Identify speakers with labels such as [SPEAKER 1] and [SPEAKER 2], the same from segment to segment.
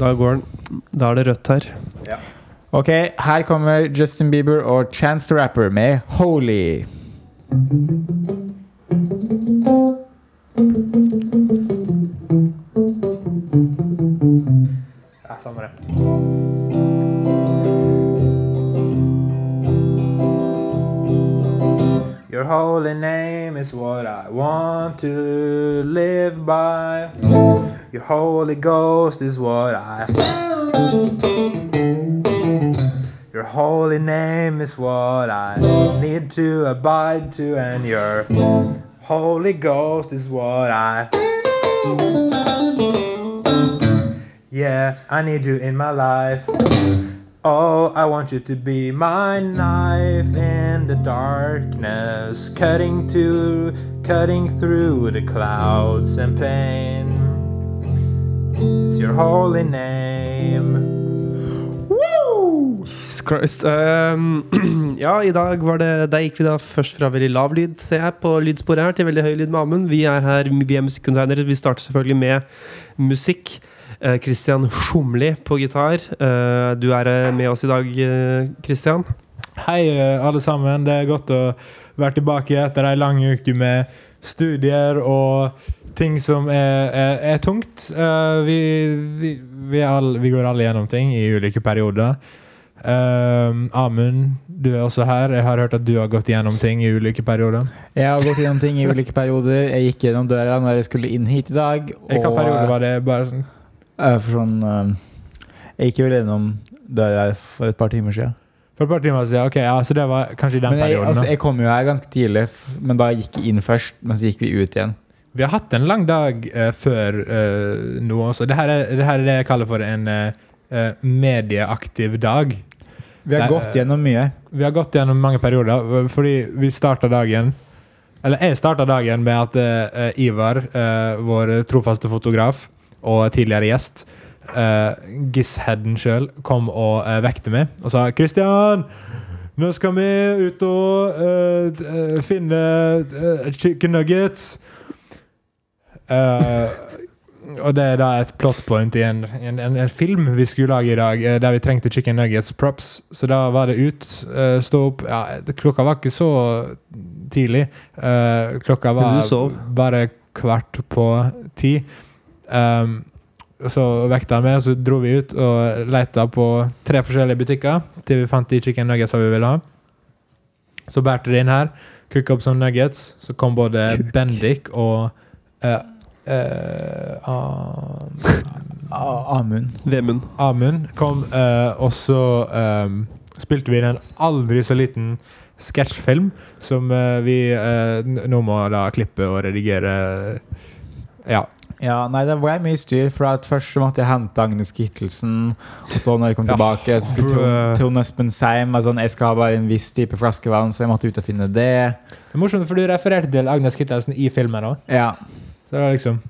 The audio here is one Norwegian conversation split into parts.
[SPEAKER 1] Da går den. Da er det rødt her.
[SPEAKER 2] Ok, her kommer Justin Bieber og Chance the Rapper med Holy.
[SPEAKER 3] Ja, samme det. Your holy name is what I want to live by. Your holy ghost is what I. Your holy name is what I need to abide to, and your holy ghost is what I. Yeah, I need you in my life. Oh, I want you to be my knife in the darkness, cutting to cutting through the clouds and pain. It's your holy name.
[SPEAKER 1] Jesus Christ. Ehm, ja, i dag var det Der gikk vi da først fra veldig lav lyd, ser jeg, på lydsporet her, til veldig høy lyd med Amund. Vi er her, vi er musikkontainere. Vi starter selvfølgelig med musikk. Eh, Christian Sjomli på gitar. Eh, du er eh, med oss i dag, eh, Christian.
[SPEAKER 3] Hei, eh, alle sammen. Det er godt å være tilbake etter ei lang uke med studier og ting som er, er, er tungt. Eh, vi, vi, vi, er alle- vi går alle gjennom ting i ulike perioder. Eh, Amund, du er også her. Jeg har hørt at du har gått gjennom ting i ulike perioder.
[SPEAKER 2] Jeg har gått gjennom ting i ulike perioder. Jeg gikk gjennom døra når jeg skulle inn hit i dag.
[SPEAKER 3] I hvilken periode var det? Bare sånn
[SPEAKER 2] eh, for sånn eh, Jeg gikk vel gjennom døra for et par timer siden.
[SPEAKER 3] For et par timer siden. Ok, ja, Så det var kanskje i den
[SPEAKER 2] Men jeg,
[SPEAKER 3] perioden.
[SPEAKER 2] altså,
[SPEAKER 3] da.
[SPEAKER 2] jeg kom jo her ganske tidlig, f- men da gikk jeg inn først. Men så gikk vi ut igjen.
[SPEAKER 3] Vi har hatt en lang dag eh, før eh, nå også. Det her, er, det her er det jeg kaller for en eh, eh, medieaktiv dag.
[SPEAKER 2] Vi har
[SPEAKER 3] Nei,
[SPEAKER 2] gått
[SPEAKER 3] eh,
[SPEAKER 2] gjennom mye.
[SPEAKER 3] Vi har gått gjennom mange perioder, eh, fordi vi starta dagen Eller jeg starta dagen med at eh, Ivar, eh, vår trofaste fotograf og tidligere gjest, uh, Gisheden sjøl, kom og eh, vekte meg og sa 'Christian, nå skal vi ut og eh, t- eh, finne eh, chicken nuggets'. Eh, og det er da et plot point i en, en, en, en film vi skulle lage i dag, eh, der vi trengte chicken nuggets props. Så da var det ut, eh, stå opp ja, det- Klokka var ikke så tidlig. Eh, klokka
[SPEAKER 1] Men
[SPEAKER 3] var
[SPEAKER 1] du sov.
[SPEAKER 3] bare kvart på ti. Um, så vekta han meg, og så dro vi ut og leita på tre forskjellige butikker til vi fant de chicken nuggets vi ville ha. Så bærte det inn her. Kukka opp som nuggets. Så kom både
[SPEAKER 1] Kuk.
[SPEAKER 3] Bendik og eh, eh, Am-
[SPEAKER 2] A- Amund.
[SPEAKER 1] Vemund.
[SPEAKER 3] Amund kom, eh, og så eh, spilte vi inn en aldri så liten sketsjfilm som eh, vi eh, n- nå må da klippe og redigere. eh, Ja.
[SPEAKER 2] Ja, nei, det ble mye styr, for at først så måtte jeg hente Agnes Kittelsen. Og så når jeg kom
[SPEAKER 3] Ja,
[SPEAKER 2] tilbake, så skulle Trond,
[SPEAKER 3] brø.
[SPEAKER 2] Trond Espen Seim altså, Jeg skal ha bare en viss type flaskevann, så jeg måtte ut og finne det.
[SPEAKER 3] Det er morsomt, for du refererte til Agnes Kittelsen i filmen òg.
[SPEAKER 2] Ja.
[SPEAKER 3] Så det var liksom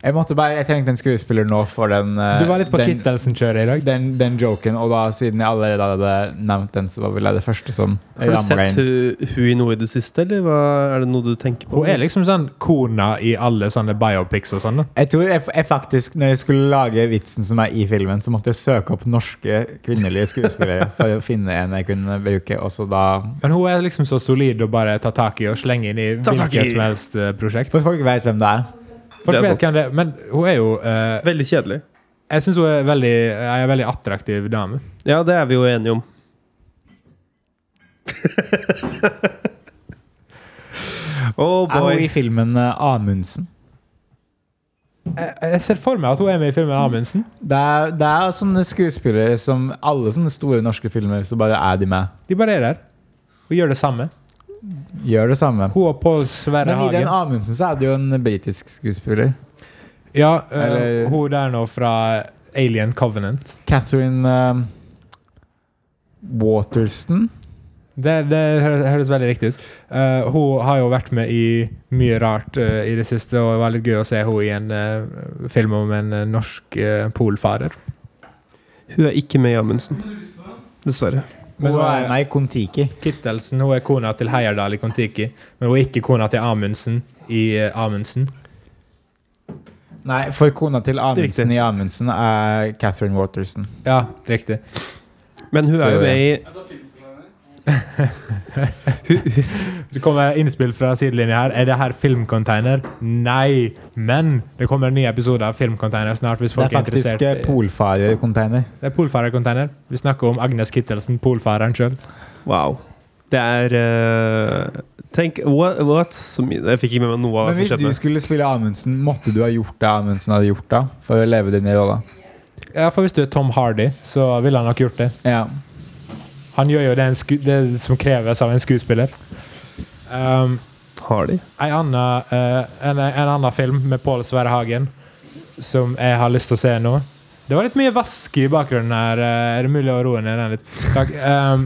[SPEAKER 2] Jeg måtte bare, jeg trengte en skuespiller nå for den eh,
[SPEAKER 3] Du var litt på
[SPEAKER 2] den,
[SPEAKER 3] Kittelsen-kjøret i dag.
[SPEAKER 2] den, den joken, og da siden jeg allerede hadde nevnt den, så var vel det det første som
[SPEAKER 1] Har du
[SPEAKER 2] ramla
[SPEAKER 1] sett
[SPEAKER 2] inn.
[SPEAKER 1] hun hu i noe i det siste, eller hva, er det noe du tenker på?
[SPEAKER 3] Hun er liksom sånn kona i alle sånne biopics og sånn. da.
[SPEAKER 2] Jeg tror jeg, jeg faktisk, når jeg skulle lage vitsen som er i filmen, så måtte jeg søke opp norske kvinnelige skuespillere for å finne en jeg kunne bruke, og så da
[SPEAKER 3] Men hun er liksom så solid å bare ta tak i og slenge inn i
[SPEAKER 1] Ta tak i.
[SPEAKER 3] hvilket som helst eh, prosjekt.
[SPEAKER 2] For folk vet hvem det er.
[SPEAKER 3] Folk
[SPEAKER 1] Det er
[SPEAKER 3] vet
[SPEAKER 1] sant.
[SPEAKER 3] hvem det er, men hun er jo eh,
[SPEAKER 1] Veldig kjedelig.
[SPEAKER 3] Jeg syns hun er veldig, er en veldig attraktiv dame.
[SPEAKER 1] Ja, det er vi jo enige om. oh
[SPEAKER 2] Er hun
[SPEAKER 1] boy.
[SPEAKER 2] i filmen eh, Amundsen?
[SPEAKER 3] Jeg, jeg ser for meg at hun er med i filmen Amundsen.
[SPEAKER 2] Det er, det er sånne skuespillere som alle sånne store norske filmer, så bare er de med.
[SPEAKER 3] De bare er der. Hun gjør det samme.
[SPEAKER 2] Gjør det samme.
[SPEAKER 3] Hun og Pål Sverre
[SPEAKER 2] Men i den
[SPEAKER 3] Hagen.
[SPEAKER 2] Amundsen så er det jo en britisk skuespiller.
[SPEAKER 3] Ja, eh,
[SPEAKER 2] Eller-
[SPEAKER 3] hun der nå fra Alien Covenant.
[SPEAKER 2] Catherine eh, Waterston.
[SPEAKER 3] Det, det hø- høres veldig riktig ut. Eh, hun har jo vært med i mye rart eh, i det siste, og det var litt gøy å se henne i en eh, film om en eh, norsk eh, polfarer.
[SPEAKER 1] Hun er ikke med i Amundsen. Dessverre.
[SPEAKER 3] Men
[SPEAKER 2] hun
[SPEAKER 3] hun
[SPEAKER 2] er
[SPEAKER 3] er-
[SPEAKER 2] med i Kon-Tiki.
[SPEAKER 3] Kittelsen hun er kona til Heierdal i Kon-Tiki, men hun er ikke kona til Amundsen i eh, Amundsen.
[SPEAKER 2] Nei, for kona til Amundsen
[SPEAKER 1] Riktig.
[SPEAKER 2] i Amundsen er Catherine Waterson.
[SPEAKER 3] Ja, riktig.
[SPEAKER 1] Men hun er jo
[SPEAKER 2] Så-
[SPEAKER 1] med i
[SPEAKER 3] Det kommer innspill fra sidelinja her. Er det her filmcontainer? Nei, men det kommer en ny episode av Filmcontainer snart. hvis
[SPEAKER 2] Det
[SPEAKER 3] folk
[SPEAKER 2] er
[SPEAKER 3] er,
[SPEAKER 2] faktisk
[SPEAKER 3] interessert.
[SPEAKER 2] eh, polfarercontainer.
[SPEAKER 3] Det er polfarercontainer. Vi snakker om Agnes Kittelsen, polfareren sjøl.
[SPEAKER 1] Wow. Det er eh, Tenk what, what som, Jeg fikk ikke med meg noe av
[SPEAKER 2] Men
[SPEAKER 1] hva
[SPEAKER 2] hvis
[SPEAKER 1] som
[SPEAKER 2] du
[SPEAKER 1] skjedde.
[SPEAKER 2] skulle spille Amundsen, måtte du ha gjort det Amundsen hadde gjort da? For å leve din rolle?
[SPEAKER 3] Ja, for hvis du er Tom Hardy, så ville han nok gjort det.
[SPEAKER 2] Ja.
[SPEAKER 3] Han gjør jo det, en sku det som kreves av en skuespiller. Um,
[SPEAKER 1] Har de?
[SPEAKER 3] en, annen, eh, en, en annen film med Pål Sverre Hagen som jeg har lyst til å se nå. Det var litt mye vask i bakgrunnen her. eh, Er det mulig å roe ned den litt? Takk. Um,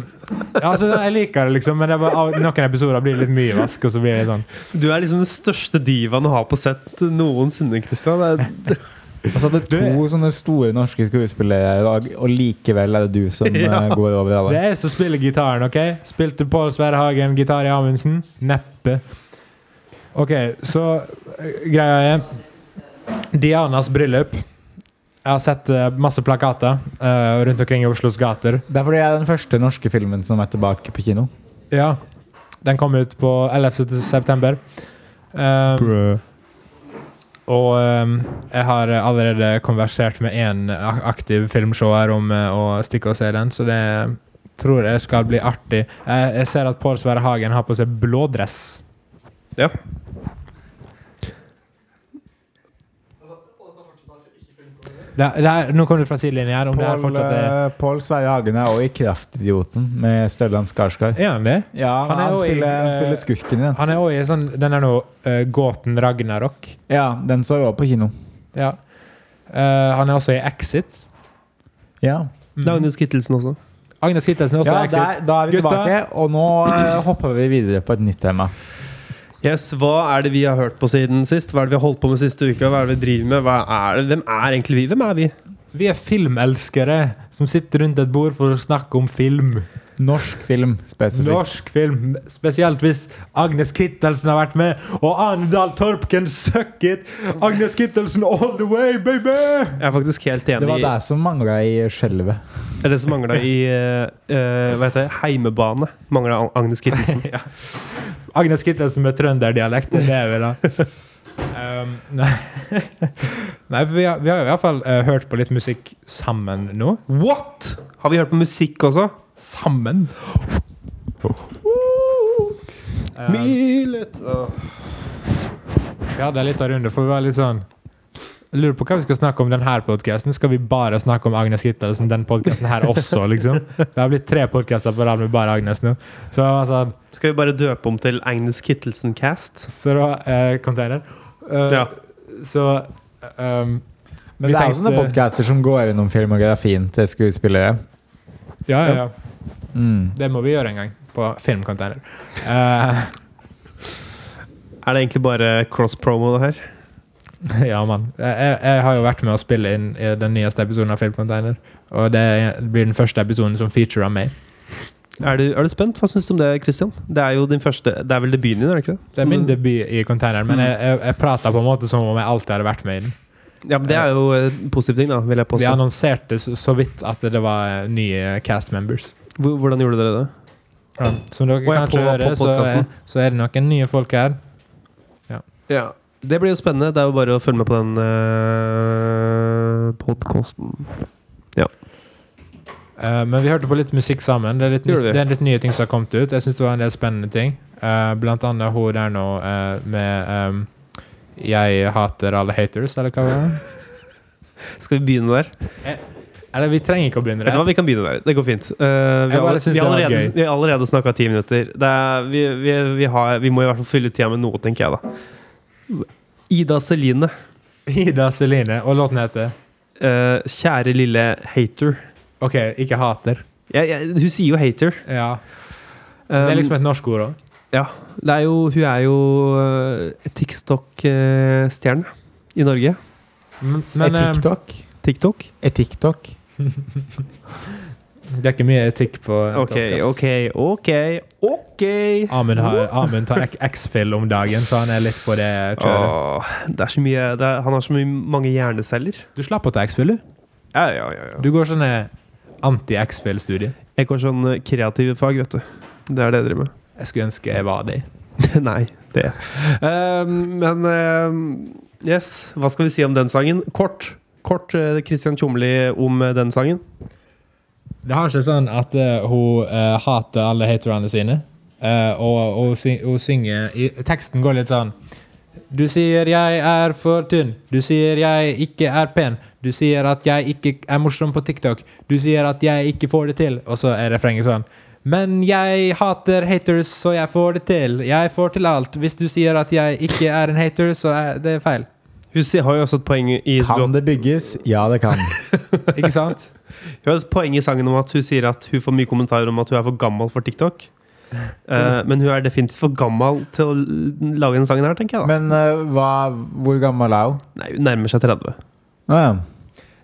[SPEAKER 3] ja, altså, jeg liker det, liksom, men det er bare, av- noen episoder blir det litt mye vask. Og så blir det litt sånn
[SPEAKER 1] Du er liksom den største divaen å ha på sett noensinne, Christian. Det er,
[SPEAKER 2] Altså det er to sånne store norske skuespillere, og, og likevel er det du som eh,
[SPEAKER 1] Ja.
[SPEAKER 2] går over
[SPEAKER 3] Det
[SPEAKER 2] alle.
[SPEAKER 3] er jeg som spiller gitaren, OK? Spilte Pål Sverre Hagen gitar i Amundsen? Neppe. OK, så eh, greia er Dianas bryllup. Jeg har sett eh, masse plakater eh, rundt omkring i Oslos gater.
[SPEAKER 2] Det er fordi jeg er den første norske filmen som er tilbake på kino.
[SPEAKER 3] Ja. Den kom ut på 11. september. Eh, og eh, jeg har allerede konversert med én aktiv filmsjåer om eh, å stikke og se den, så det tror jeg skal bli artig. Jeg, jeg ser at Pål Sverre Hagen har på seg blå dress.
[SPEAKER 1] ja.
[SPEAKER 3] Det, det er, nå kom du fra sidelinjen her. Om det her
[SPEAKER 2] Pål
[SPEAKER 3] fortsatt er
[SPEAKER 2] eh, Pål Sverre Hagen er også i 'Kraftidioten' med Stellan Skarsgård.
[SPEAKER 3] Er han det?
[SPEAKER 2] Ja,
[SPEAKER 3] Han
[SPEAKER 2] han,
[SPEAKER 3] er
[SPEAKER 2] han,
[SPEAKER 3] også i,
[SPEAKER 2] spiller, han
[SPEAKER 3] eh,
[SPEAKER 2] spiller skurken i den.
[SPEAKER 3] Han er òg i sånn Den er nå eh, Gåten Ragnarok.
[SPEAKER 2] Ja, den så jeg også på kino.
[SPEAKER 3] Ja. Eh, han er også i Exit.
[SPEAKER 2] Ja,
[SPEAKER 1] Dagnus Kittelsen også.
[SPEAKER 3] Agnes Kittelsen er også
[SPEAKER 2] ja
[SPEAKER 3] i Exit.
[SPEAKER 2] der, da er vi
[SPEAKER 3] Gutta.
[SPEAKER 2] tilbake, og nå eh, hopper vi videre på et nytt tema.
[SPEAKER 1] Yes, Hva er det vi har hørt på siden sist? Hva er det vi har holdt på med siste uka? Hva er det vi driver med? Hva er det? Hvem er egentlig vi? Hvem er vi?
[SPEAKER 3] Vi er filmelskere som sitter rundt et bord for å snakke om film.
[SPEAKER 2] Norsk film spesifikt.
[SPEAKER 3] Norsk film, spesielt hvis Agnes Kittelsen har vært med, og Arendal Torpken suck it! Agnes Kittelsen all the way, baby!
[SPEAKER 1] Jeg er faktisk helt
[SPEAKER 2] Det
[SPEAKER 1] enig
[SPEAKER 2] var
[SPEAKER 1] i
[SPEAKER 2] det som mangla i skjelvet.
[SPEAKER 1] Det er det som mangla i eh, eh, hva heter det? heimebane. Mangla Agnes Kittelsen.
[SPEAKER 3] Agnes Kittelsen med trønderdialekt, det er vi da. Um, nei. nei, for vi har, vi har jo i hvert fall eh, hørt på litt musikk sammen nå.
[SPEAKER 1] What?! Har vi hørt på musikk også?
[SPEAKER 3] Sammen?
[SPEAKER 2] Oh.
[SPEAKER 3] Um,
[SPEAKER 1] Milet
[SPEAKER 3] Vi hadde en liten runde, for vi var litt sånn Jeg lurer på hva vi skal snakke om denne podkasten. Skal vi bare snakke om Agnes Kittelsen, den podkasten her også, liksom? Det har blitt tre podkaster på rad med bare Agnes nå. Så det var sånn
[SPEAKER 1] Skal vi bare døpe om til Agnes Kittelsen Cast?
[SPEAKER 3] Så da eh, containeren. Eh,
[SPEAKER 1] Ja.
[SPEAKER 3] Så ehm,
[SPEAKER 2] Men
[SPEAKER 3] vi
[SPEAKER 2] det er jo
[SPEAKER 3] tenkte-
[SPEAKER 2] sånne podcaster som går gjennom filmografien til skuespillere.
[SPEAKER 3] Ja, ja, ja.
[SPEAKER 2] Mm.
[SPEAKER 3] Det må vi gjøre en gang. På filmcontainer. Eh,
[SPEAKER 1] Er det egentlig bare cross-promo, det her?
[SPEAKER 3] ja, mann. Jeg, jeg har jo vært med å spille inn i den nyeste episoden av Filmcontainer. Og det blir den første episoden som featurer meg.
[SPEAKER 1] Er du, er du spent? Hva syns du om det, Christian? Det er jo din første Det er vel debuten din, er det ikke det?
[SPEAKER 3] Det er
[SPEAKER 1] Som-
[SPEAKER 3] min debut i containeren, men
[SPEAKER 2] Mm.
[SPEAKER 3] jeg, jeg, jeg prater på en måte som om jeg alltid hadde vært med i den.
[SPEAKER 1] Ja, men Det er jo eh, en positiv ting, da, vil jeg
[SPEAKER 3] Vi
[SPEAKER 1] påstå.
[SPEAKER 3] annonserte så, så vidt at det var eh, nye cast members.
[SPEAKER 1] Hvor- Hvordan gjorde dere det?
[SPEAKER 3] Som dere
[SPEAKER 1] Og jeg
[SPEAKER 3] kanskje
[SPEAKER 1] på- på
[SPEAKER 3] hører, så,
[SPEAKER 1] podcasten.
[SPEAKER 3] er- så er det noen nye folk her.
[SPEAKER 1] Ja Det blir jo spennende. Det er jo bare å følge med på den uh, podkasten.
[SPEAKER 3] Eh, men vi hørte på litt musikk sammen. Det er litt,
[SPEAKER 1] Gjorde
[SPEAKER 3] nytt-
[SPEAKER 1] vi?
[SPEAKER 3] det er litt nye ting som har kommet ut. Jeg syns det var en del spennende ting. Eh, blant annet hun der nå eh, med ehm, 'Jeg hater alle haters', eller hva var det?
[SPEAKER 1] Skal vi begynne der?
[SPEAKER 3] Eller vi trenger ikke å begynne
[SPEAKER 1] Vet du hva, Vi
[SPEAKER 3] der.
[SPEAKER 1] kan begynne der. Det går fint. Eh, vi,
[SPEAKER 3] Jeg bare
[SPEAKER 1] har, vi, har
[SPEAKER 3] synes det var
[SPEAKER 1] allerede,
[SPEAKER 3] gøy.
[SPEAKER 1] vi har allerede snakka ti minutter. Det er, vi, vi, vi, har, vi må i hvert fall fylle tida med noe, tenker jeg da. Ida Celine.
[SPEAKER 3] Ida Celine, og låten heter
[SPEAKER 1] eh, kjære lille hater.
[SPEAKER 3] OK, ikke hater.
[SPEAKER 1] Jeg, jeg, hun sier jo hater.
[SPEAKER 3] Ja.
[SPEAKER 1] Um,
[SPEAKER 3] Det er liksom et norsk ord òg.
[SPEAKER 1] ja, det er jo, hun er jo eh, TikTok-stjerne i Norge.
[SPEAKER 3] Men,
[SPEAKER 2] Er eh,
[SPEAKER 3] men ehm,
[SPEAKER 2] TikTok?
[SPEAKER 1] TikTok.
[SPEAKER 2] Er TikTok?
[SPEAKER 3] Det er ikke mye etikk på en
[SPEAKER 1] OK,
[SPEAKER 3] podcast.
[SPEAKER 1] OK, OK. ok
[SPEAKER 3] Amund, har, Amund tar X- X-Fill om dagen, så han er litt på det kjøret.
[SPEAKER 1] Åh, det er så mye det er, Han har så mye, mange hjerneceller.
[SPEAKER 3] Du slapp å ta X-Fill, du.
[SPEAKER 1] Ja, ja, ja, ja.
[SPEAKER 3] Du går sånn anti-X-Fill-studie.
[SPEAKER 1] Jeg går sånn eh, kreative fag, vet du. Det er det jeg driver med.
[SPEAKER 3] Jeg skulle ønske jeg var det.
[SPEAKER 1] Nei, det Eh, Men eh, yes, hva skal vi si om den sangen? Kort. Kort eh, Christian Tjomli om eh, den sangen.
[SPEAKER 3] Det har seg sånn at eh, hun eh, hater alle haterne sine, eh, og, og sy hun synger i, Teksten går litt sånn Du sier jeg er for tynn, du sier jeg ikke er pen, du sier at jeg ikke er morsom på TikTok, du sier at jeg ikke får det til, og så er refrenget sånn men jeg hater haters, så jeg får det til. Jeg får til alt. Hvis du sier at jeg ikke er en hater, så er det feil.
[SPEAKER 1] Hun si- har jo også et poeng i
[SPEAKER 2] Kan det bygges? Ja, det kan.
[SPEAKER 3] Ikke sant?
[SPEAKER 1] Hun har et poeng i sangen om at hun sier at hun får mye kommentarer om at hun er for gammel for TikTok. Eh, men hun er definitivt for gammel til å l- lage den sangen her, tenker jeg. da
[SPEAKER 2] Men eh, hva, hvor gammel er hun?
[SPEAKER 1] Nei, Hun nærmer seg 30.
[SPEAKER 2] Å ja.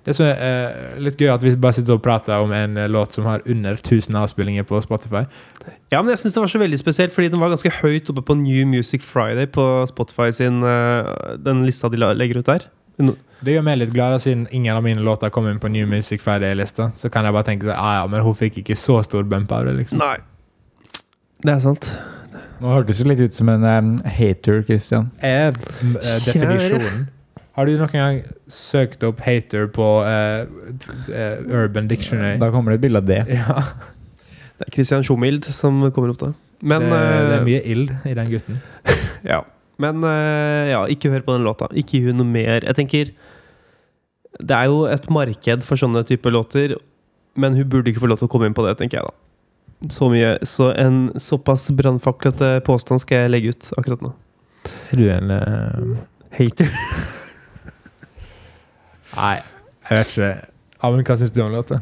[SPEAKER 3] Det som er eh, litt gøy, er at vi bare sitter og prater om en eh, låt som har under 1000 avspillinger på Spotify.
[SPEAKER 1] Ja, men jeg synes det var så veldig spesielt, fordi den var ganske høyt oppe på New Music Friday på Spotify sin eh, Den lista de la- legger ut der.
[SPEAKER 3] Det gjør meg litt glad, da, siden ingen av mine låter kom inn på New Music Friday-lista. Så kan jeg bare tenke sånn ah, ja, men hun fikk ikke så stor bump av det, liksom.
[SPEAKER 1] Nei. Det er sant.
[SPEAKER 2] Nå hørtes det litt ut som en eh, hater, Christian.
[SPEAKER 3] Er m- eh,
[SPEAKER 1] Kjære.
[SPEAKER 3] definisjonen Har du noen gang søkt opp hater på eh, t- eh, Urban Dictionary?
[SPEAKER 2] Da kommer det et bilde av det.
[SPEAKER 3] Ja,
[SPEAKER 1] Det er Christian Sjomild som kommer opp da. Men,
[SPEAKER 3] det, det er
[SPEAKER 1] eh,
[SPEAKER 3] mye ild i den gutten.
[SPEAKER 1] ja. Men eh, ja, ikke hør på den låta. Ikke gi hun noe mer. Jeg tenker Det er jo et marked for sånne typer låter, men hun burde ikke få lov til å komme inn på det, tenker jeg da. Så mye. Så en såpass brannfaklete påstand skal jeg legge ut akkurat nå.
[SPEAKER 3] Er du en eh,
[SPEAKER 1] Hater.
[SPEAKER 3] Nei, jeg vet ikke. Amund, hva syns du om låta?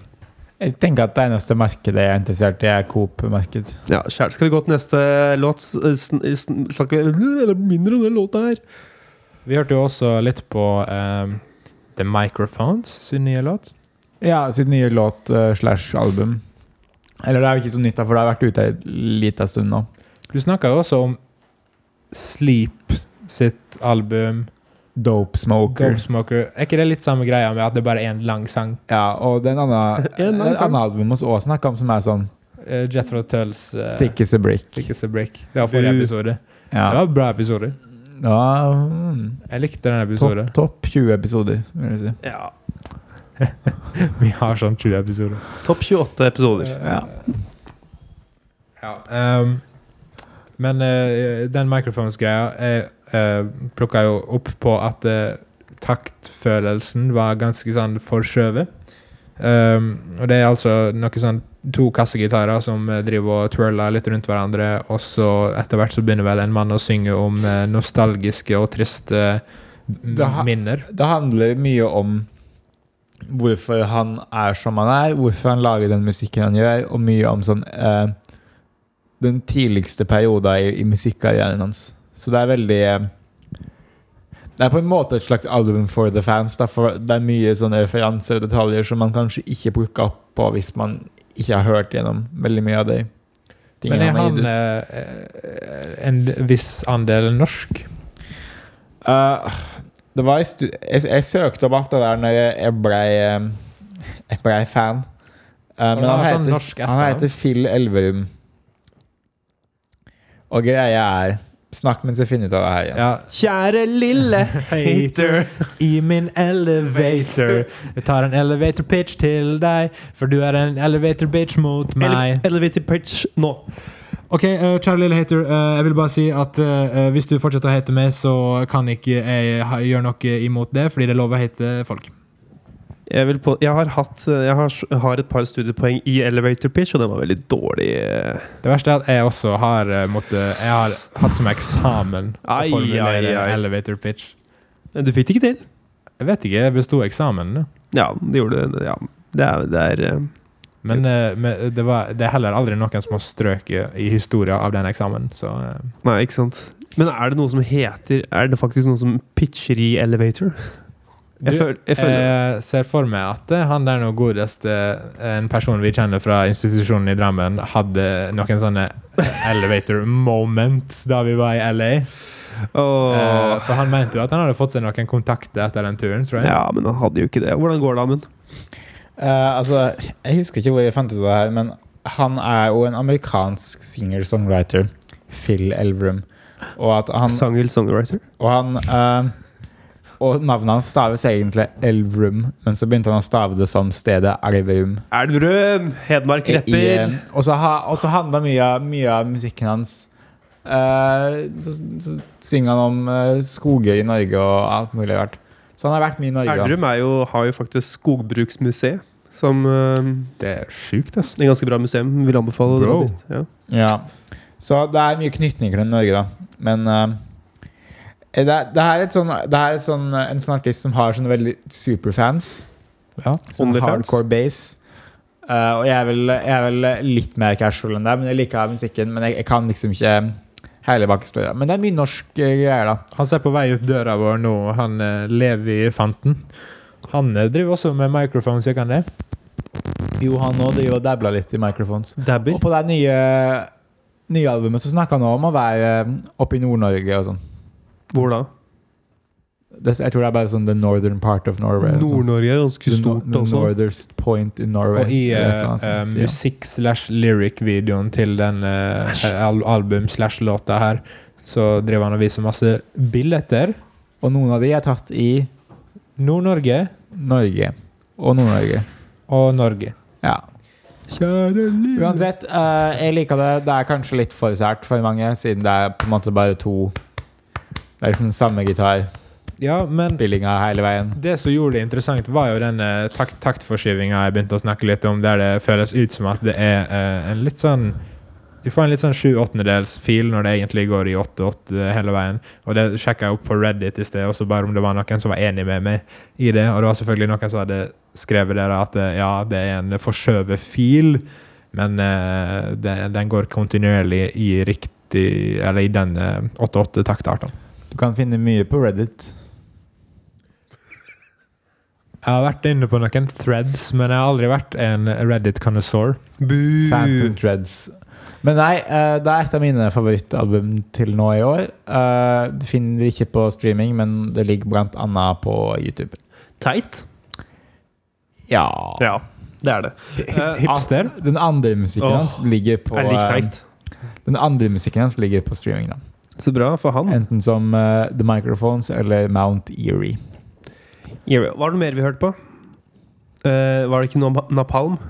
[SPEAKER 2] Jeg tenker at det eneste markedet jeg er interessert i, er Coop-marked.
[SPEAKER 1] Ja, kjære. Skal vi gå til neste låt? S- sn- sn- Snakker vi mindre om den låta her?
[SPEAKER 3] Vi hørte jo også litt på eh, The Microphones sin nye låt.
[SPEAKER 2] Ja, sitt nye låt eh, slash album. Eller det er jo ikke så nytt, da, for det har vært ute en liten stund nå.
[SPEAKER 3] Du snakka jo også om Sleep sitt album
[SPEAKER 2] Dope Smoker.
[SPEAKER 3] Dope Smoker. Er ikke det litt samme greia med at det bare er en lang sang?
[SPEAKER 2] Ja, og det er en annen,
[SPEAKER 1] En annen
[SPEAKER 2] en
[SPEAKER 1] sang.
[SPEAKER 2] annen album hos Ås snakka om som er sånn
[SPEAKER 3] Uh, Jethro Tulls eh,
[SPEAKER 2] Thick as a brick.
[SPEAKER 3] Thick as a Brick. Det var forrige
[SPEAKER 1] Du-
[SPEAKER 3] episode. Det
[SPEAKER 2] Ja.
[SPEAKER 3] var en bra episode.
[SPEAKER 2] Ja, mm,
[SPEAKER 3] Jeg likte den
[SPEAKER 2] topp
[SPEAKER 3] episoden.
[SPEAKER 2] topp 20 episoder, vil jeg si.
[SPEAKER 1] Ja.
[SPEAKER 3] Vi har sånn 20 episoder.
[SPEAKER 1] Topp 28 episoder.
[SPEAKER 2] Ja.
[SPEAKER 3] Eh, Ja. ehm, men eh, den Microphones-greia Jeg plukka eh, jo opp på at eh, taktfølelsen var ganske sånn forskjøvet. Ehm, og det er altså noe sånn to kassegitarer som eh, driver og twirler litt rundt hverandre, og så etter hvert så begynner vel en mann å synge om eh, nostalgiske og triste m-
[SPEAKER 2] Det har-
[SPEAKER 3] minner.
[SPEAKER 2] Det handler mye om hvorfor han er som han er, hvorfor han lager den musikken han gjør, og mye om sånn eh, den tidligste perioden i, i musikkarrieren hans. Så det er veldig eh, Det er på en måte et slags album for the fans. Da, for det er mye sånne referanser og detaljer som man kanskje ikke plukker opp på hvis man ikke har hørt gjennom veldig mye av de
[SPEAKER 3] Men
[SPEAKER 2] tingene
[SPEAKER 3] er
[SPEAKER 2] han har
[SPEAKER 3] han
[SPEAKER 2] gitt ut.
[SPEAKER 3] eh, en viss andel norsk?
[SPEAKER 2] Eh, det var i stu jeg, jeg søkte opp alt det der når jeg, jeg blei eh, Jeg blei fan. Eh,
[SPEAKER 3] Og han
[SPEAKER 2] men han
[SPEAKER 3] har sånn
[SPEAKER 2] heter,
[SPEAKER 3] norsk
[SPEAKER 2] han
[SPEAKER 3] etternavn.
[SPEAKER 2] heter Phil Elverum. Og greia er Snakk mens jeg finner ut av det her. igjen.
[SPEAKER 3] Ja.
[SPEAKER 1] Kjære lille hater.
[SPEAKER 3] I min elevator. Jeg tar en elevator pitch til deg, for du er en elevator bitch mot meg.
[SPEAKER 1] Ele elevator pitch nå.
[SPEAKER 3] Ok, eh, kjære lille hater, eh, jeg vil bare si at eh, hvis du fortsetter å hate meg, så kan ikke jeg ha- gjøre noe imot det, fordi det er lov å hate folk.
[SPEAKER 1] Jeg, vil på, jeg, har hatt, jeg har, har et par studiepoeng i elevator pitch, og den var veldig dårlig. Eh,
[SPEAKER 3] Det verste er at jeg også har eh, måttet Jeg har hatt som eksamen å
[SPEAKER 1] Ai, ai,
[SPEAKER 3] formulere
[SPEAKER 1] ai.
[SPEAKER 3] en elevator pitch.
[SPEAKER 1] Men Du fikk det ikke til.
[SPEAKER 3] Jeg vet ikke, jeg besto eksamen.
[SPEAKER 1] Ja, det gjorde det. Ja, det er, det er eh,
[SPEAKER 3] Men, eh, men det, var, det er heller aldri noen som har strøket i historien av den eksamen, så eh,
[SPEAKER 1] Nei, ikke sant. Men er det noe som heter Er det faktisk noe som pitcher i elevator? Jeg
[SPEAKER 3] Du,
[SPEAKER 1] føl- jeg føler
[SPEAKER 3] Jeg ser for meg at eh, han der nå godeste, eh, en person vi kjenner fra institusjonen i Drammen, hadde noen sånne eh, elevator moments da vi var i LA. Eh,
[SPEAKER 1] Åh.
[SPEAKER 3] For han mente jo at han hadde fått seg noen kontakter etter den turen, tror jeg.
[SPEAKER 1] Ja, men han hadde jo ikke det. Hvordan går det, Amund?
[SPEAKER 2] Eh, altså, jeg husker ikke hvor jeg fant ut av det her, men han er jo en amerikansk singer-songwriter. Phil Elverum. Og, at han,
[SPEAKER 1] Sangel songwriter?
[SPEAKER 2] og, han eh, og navnet hans staves egentlig Elverum, men så begynte han å stave det som stedet Elverum.
[SPEAKER 1] Elverum! Hedmark
[SPEAKER 2] I,
[SPEAKER 1] rapper.
[SPEAKER 2] eh, og så ha- og så handler mye, av- mye av musikken hans eh, så, så synger han om eh, skoger i Norge og alt mulig rart. Så han har vært mye i Norge.
[SPEAKER 1] Elverum er jo, har jo faktisk Skogbruksmuseet, som eh,
[SPEAKER 3] Det er sjukt, ass.
[SPEAKER 1] er et ganske bra museum. Vil anbefale å dra
[SPEAKER 3] Bro.
[SPEAKER 1] dit. Ja.
[SPEAKER 2] Ja. Så det er mye knytninger til Norge, da. Men eh, det, er- det er, et sånn, det er et sånn, en sånn artist som har sånne veldig superfans.
[SPEAKER 3] Ja.
[SPEAKER 2] Sånn
[SPEAKER 1] Onlyfans?
[SPEAKER 2] hardcore base. Eh, og jeg er, vel, jeg er vel litt mer casual enn deg, men jeg liker musikken. Men jeg, jeg kan liksom ikke hele bakhistorien. Men det er mye norsk eh, greier, da.
[SPEAKER 3] Han ser på vei ut døra vår nå, han eh, Levi Fanten. Han eh, driver også med microphones, gjør han det?
[SPEAKER 2] Johan òg driver og dabler litt i microphones. Og
[SPEAKER 1] Dabber.
[SPEAKER 2] på det nye, nye albumet så snakker han også om å være eh, oppe i Nord-Norge og sånn.
[SPEAKER 1] Hvor da?
[SPEAKER 2] Det- Jeg tror det er bare sånn the northern part of Norway. eller sånn.
[SPEAKER 1] Nord-Norge er ganske
[SPEAKER 2] The no-
[SPEAKER 1] stort,
[SPEAKER 2] the
[SPEAKER 1] altså.
[SPEAKER 2] northernest point in Norway.
[SPEAKER 3] Og i eh,
[SPEAKER 2] eller et eller annet sånt,
[SPEAKER 3] eh,
[SPEAKER 2] sier han.
[SPEAKER 3] musikk-slash-lyric-videoen til den eh, al album-slash-låta her, så driver han og viser masse billetter.
[SPEAKER 2] Og noen av de er tatt i
[SPEAKER 3] Nord-Norge
[SPEAKER 2] Norge. Og Nord-Norge.
[SPEAKER 3] og Norge.
[SPEAKER 2] Ja. Uansett, eh, jeg liker det. Det er kanskje litt for sært for mange, siden det er på en måte bare to Det er liksom samme gitarspillinga
[SPEAKER 3] Ja, men
[SPEAKER 2] hele veien.
[SPEAKER 3] det som gjorde det interessant, var jo den eh, tak taktforskyvinga jeg begynte å snakke litt om, der det føles ut som at det er eh, en litt sånn du får en litt sånn sju åttendedels fil når det egentlig går i åtte-åtte hele veien. Og det sjekka jeg opp på Reddit i sted, også bare om det var noen som var enig med meg i det. Og det var selvfølgelig noen som hadde skrevet der at eh, ja, det er en forskjøvet fil, men eh, det, den går kontinuerlig i riktig Eller i den eh, åtte-åtte taktarten.
[SPEAKER 2] Du kan finne mye på Reddit.
[SPEAKER 3] Jeg har vært inne på noen threads, men jeg har aldri vært en reddit connoisseur
[SPEAKER 1] Mm.
[SPEAKER 2] Phantom Dreads. Men nei, eh, det er et av mine favorittalbum til nå i år. Eh, Du finner det ikke på streaming, men det ligger blant annet på YouTube.
[SPEAKER 1] Teit?
[SPEAKER 2] Ja.
[SPEAKER 1] Ja, det er det. Eh,
[SPEAKER 3] Hipster.
[SPEAKER 2] Den andre musikken
[SPEAKER 1] Åh,
[SPEAKER 2] hans ligger på
[SPEAKER 1] er lik
[SPEAKER 2] eh,
[SPEAKER 1] teit.
[SPEAKER 2] Den andre musikken hans ligger på streaming. da
[SPEAKER 1] Så bra for han.
[SPEAKER 2] Enten som eh, The Microphones eller Mount Eerie.
[SPEAKER 1] Hva var det mer vi hørte på? Eh, var det ikke noe om napalm?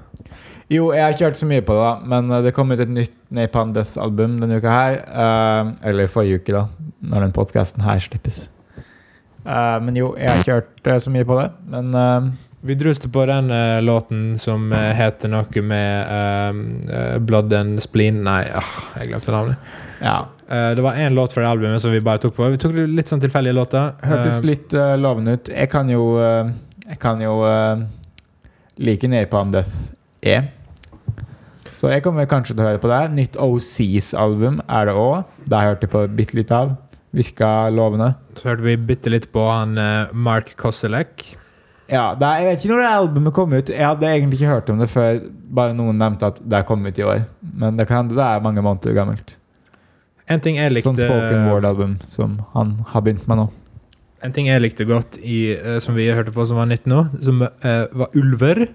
[SPEAKER 2] Jo, jeg har ikke hørt så mye på det, da men eh, det kom ut et nytt Napalm Death-album denne uka her. eh, eller forrige uke, da, når den podkasten her slippes. Eh, men jo, jeg har ikke hørt eh, så mye på det, men eh,
[SPEAKER 3] Vi druste på den eh, låten som eh, heter noe med eh, eh, Blood and Spleen Nei, ah, jeg glemte navnet.
[SPEAKER 2] ja.
[SPEAKER 3] Eh, det var én låt fra det albumet som vi bare tok på. Vi tok litt sånn tilfeldige låter.
[SPEAKER 2] Hørtes
[SPEAKER 3] Eh,
[SPEAKER 2] litt eh, lovende ut. Jeg kan jo eh, Jeg kan jo eh, like Napalm Death E. Så jeg kommer kanskje til å høre på det. Nytt OCs album er det òg. Det har jeg hørt det på bitte litt av. Virka lovende.
[SPEAKER 3] så hørte vi bitte litt på han eh, Mark Kosselek.
[SPEAKER 2] Ja, det er, Jeg vet ikke når det albumet kom ut. Jeg hadde egentlig ikke hørt om det før bare noen nevnte at det er kommet ut i år. Men det kan hende det er mange måneder gammelt.
[SPEAKER 3] En ting jeg likte
[SPEAKER 2] Sånn spoken word-album som han har begynt med nå.
[SPEAKER 3] En ting jeg likte godt i, eh, som vi hørte på som var nytt nå, som eh, var Ulver.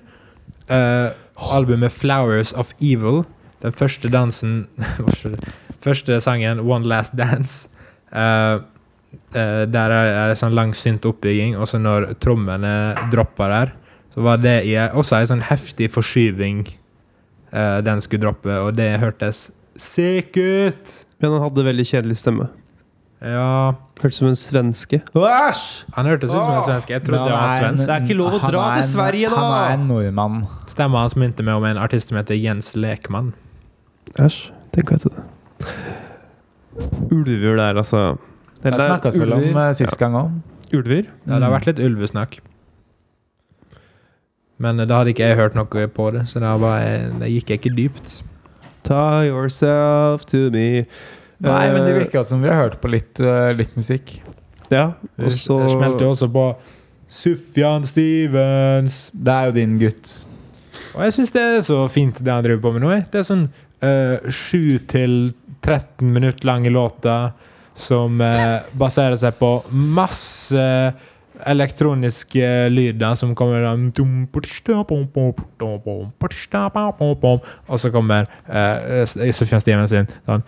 [SPEAKER 3] Eh, albumet Flowers of Evil. Den første dansen Hva skjer det? Første sangen, One Last Dance. Eh, eh, der er er det sånn lang synt oppbygging, og så når trommene dropper der, så var det i, også ei sånn heftig forskyving eh, den skulle droppe, og det hørtes sick ut!
[SPEAKER 1] Men han hadde veldig kjedelig stemme.
[SPEAKER 3] Ja
[SPEAKER 1] Hørtes som en svenske. Æsj!
[SPEAKER 3] Han hørtes ut som en svenske. Jeg trodde
[SPEAKER 2] Men
[SPEAKER 3] han var
[SPEAKER 2] er en-
[SPEAKER 3] svensk.
[SPEAKER 1] Det er ikke lov å
[SPEAKER 2] han
[SPEAKER 1] dra
[SPEAKER 2] er
[SPEAKER 1] til
[SPEAKER 2] en-
[SPEAKER 1] Sverige, da!
[SPEAKER 2] Han er en nordmann.
[SPEAKER 3] Stemma hans minte meg om en artist som heter Jens Lekmann.
[SPEAKER 1] Æsj. Tenk etter det. Ulver der, altså.
[SPEAKER 2] Det
[SPEAKER 1] Eller,
[SPEAKER 2] snakkes vel om eh, sist gang òg.
[SPEAKER 1] Ja. Ulver?
[SPEAKER 3] Ja, det har vært litt ulvesnakk. Men eh, da hadde ikke jeg hørt noe på det, så da, var jeg, da gikk jeg ikke dypt.
[SPEAKER 1] Tie yourself to me.
[SPEAKER 2] Nei, men det
[SPEAKER 1] Eh,
[SPEAKER 2] virker som vi har hørt på litt, eh, litt musikk.
[SPEAKER 1] Ja, og
[SPEAKER 3] Det
[SPEAKER 1] så
[SPEAKER 3] smelte jo også på Sufjan Stevens.
[SPEAKER 2] Det er jo din gutt.
[SPEAKER 3] Og jeg syns det er så fint, det han driver på med nå. jeg. Det er sånn eh, 7-13 minutter lange låter som eh, baserer seg på masse elektroniske lyder som kommer Og så kommer uh, Sufjan Stevens inn sånn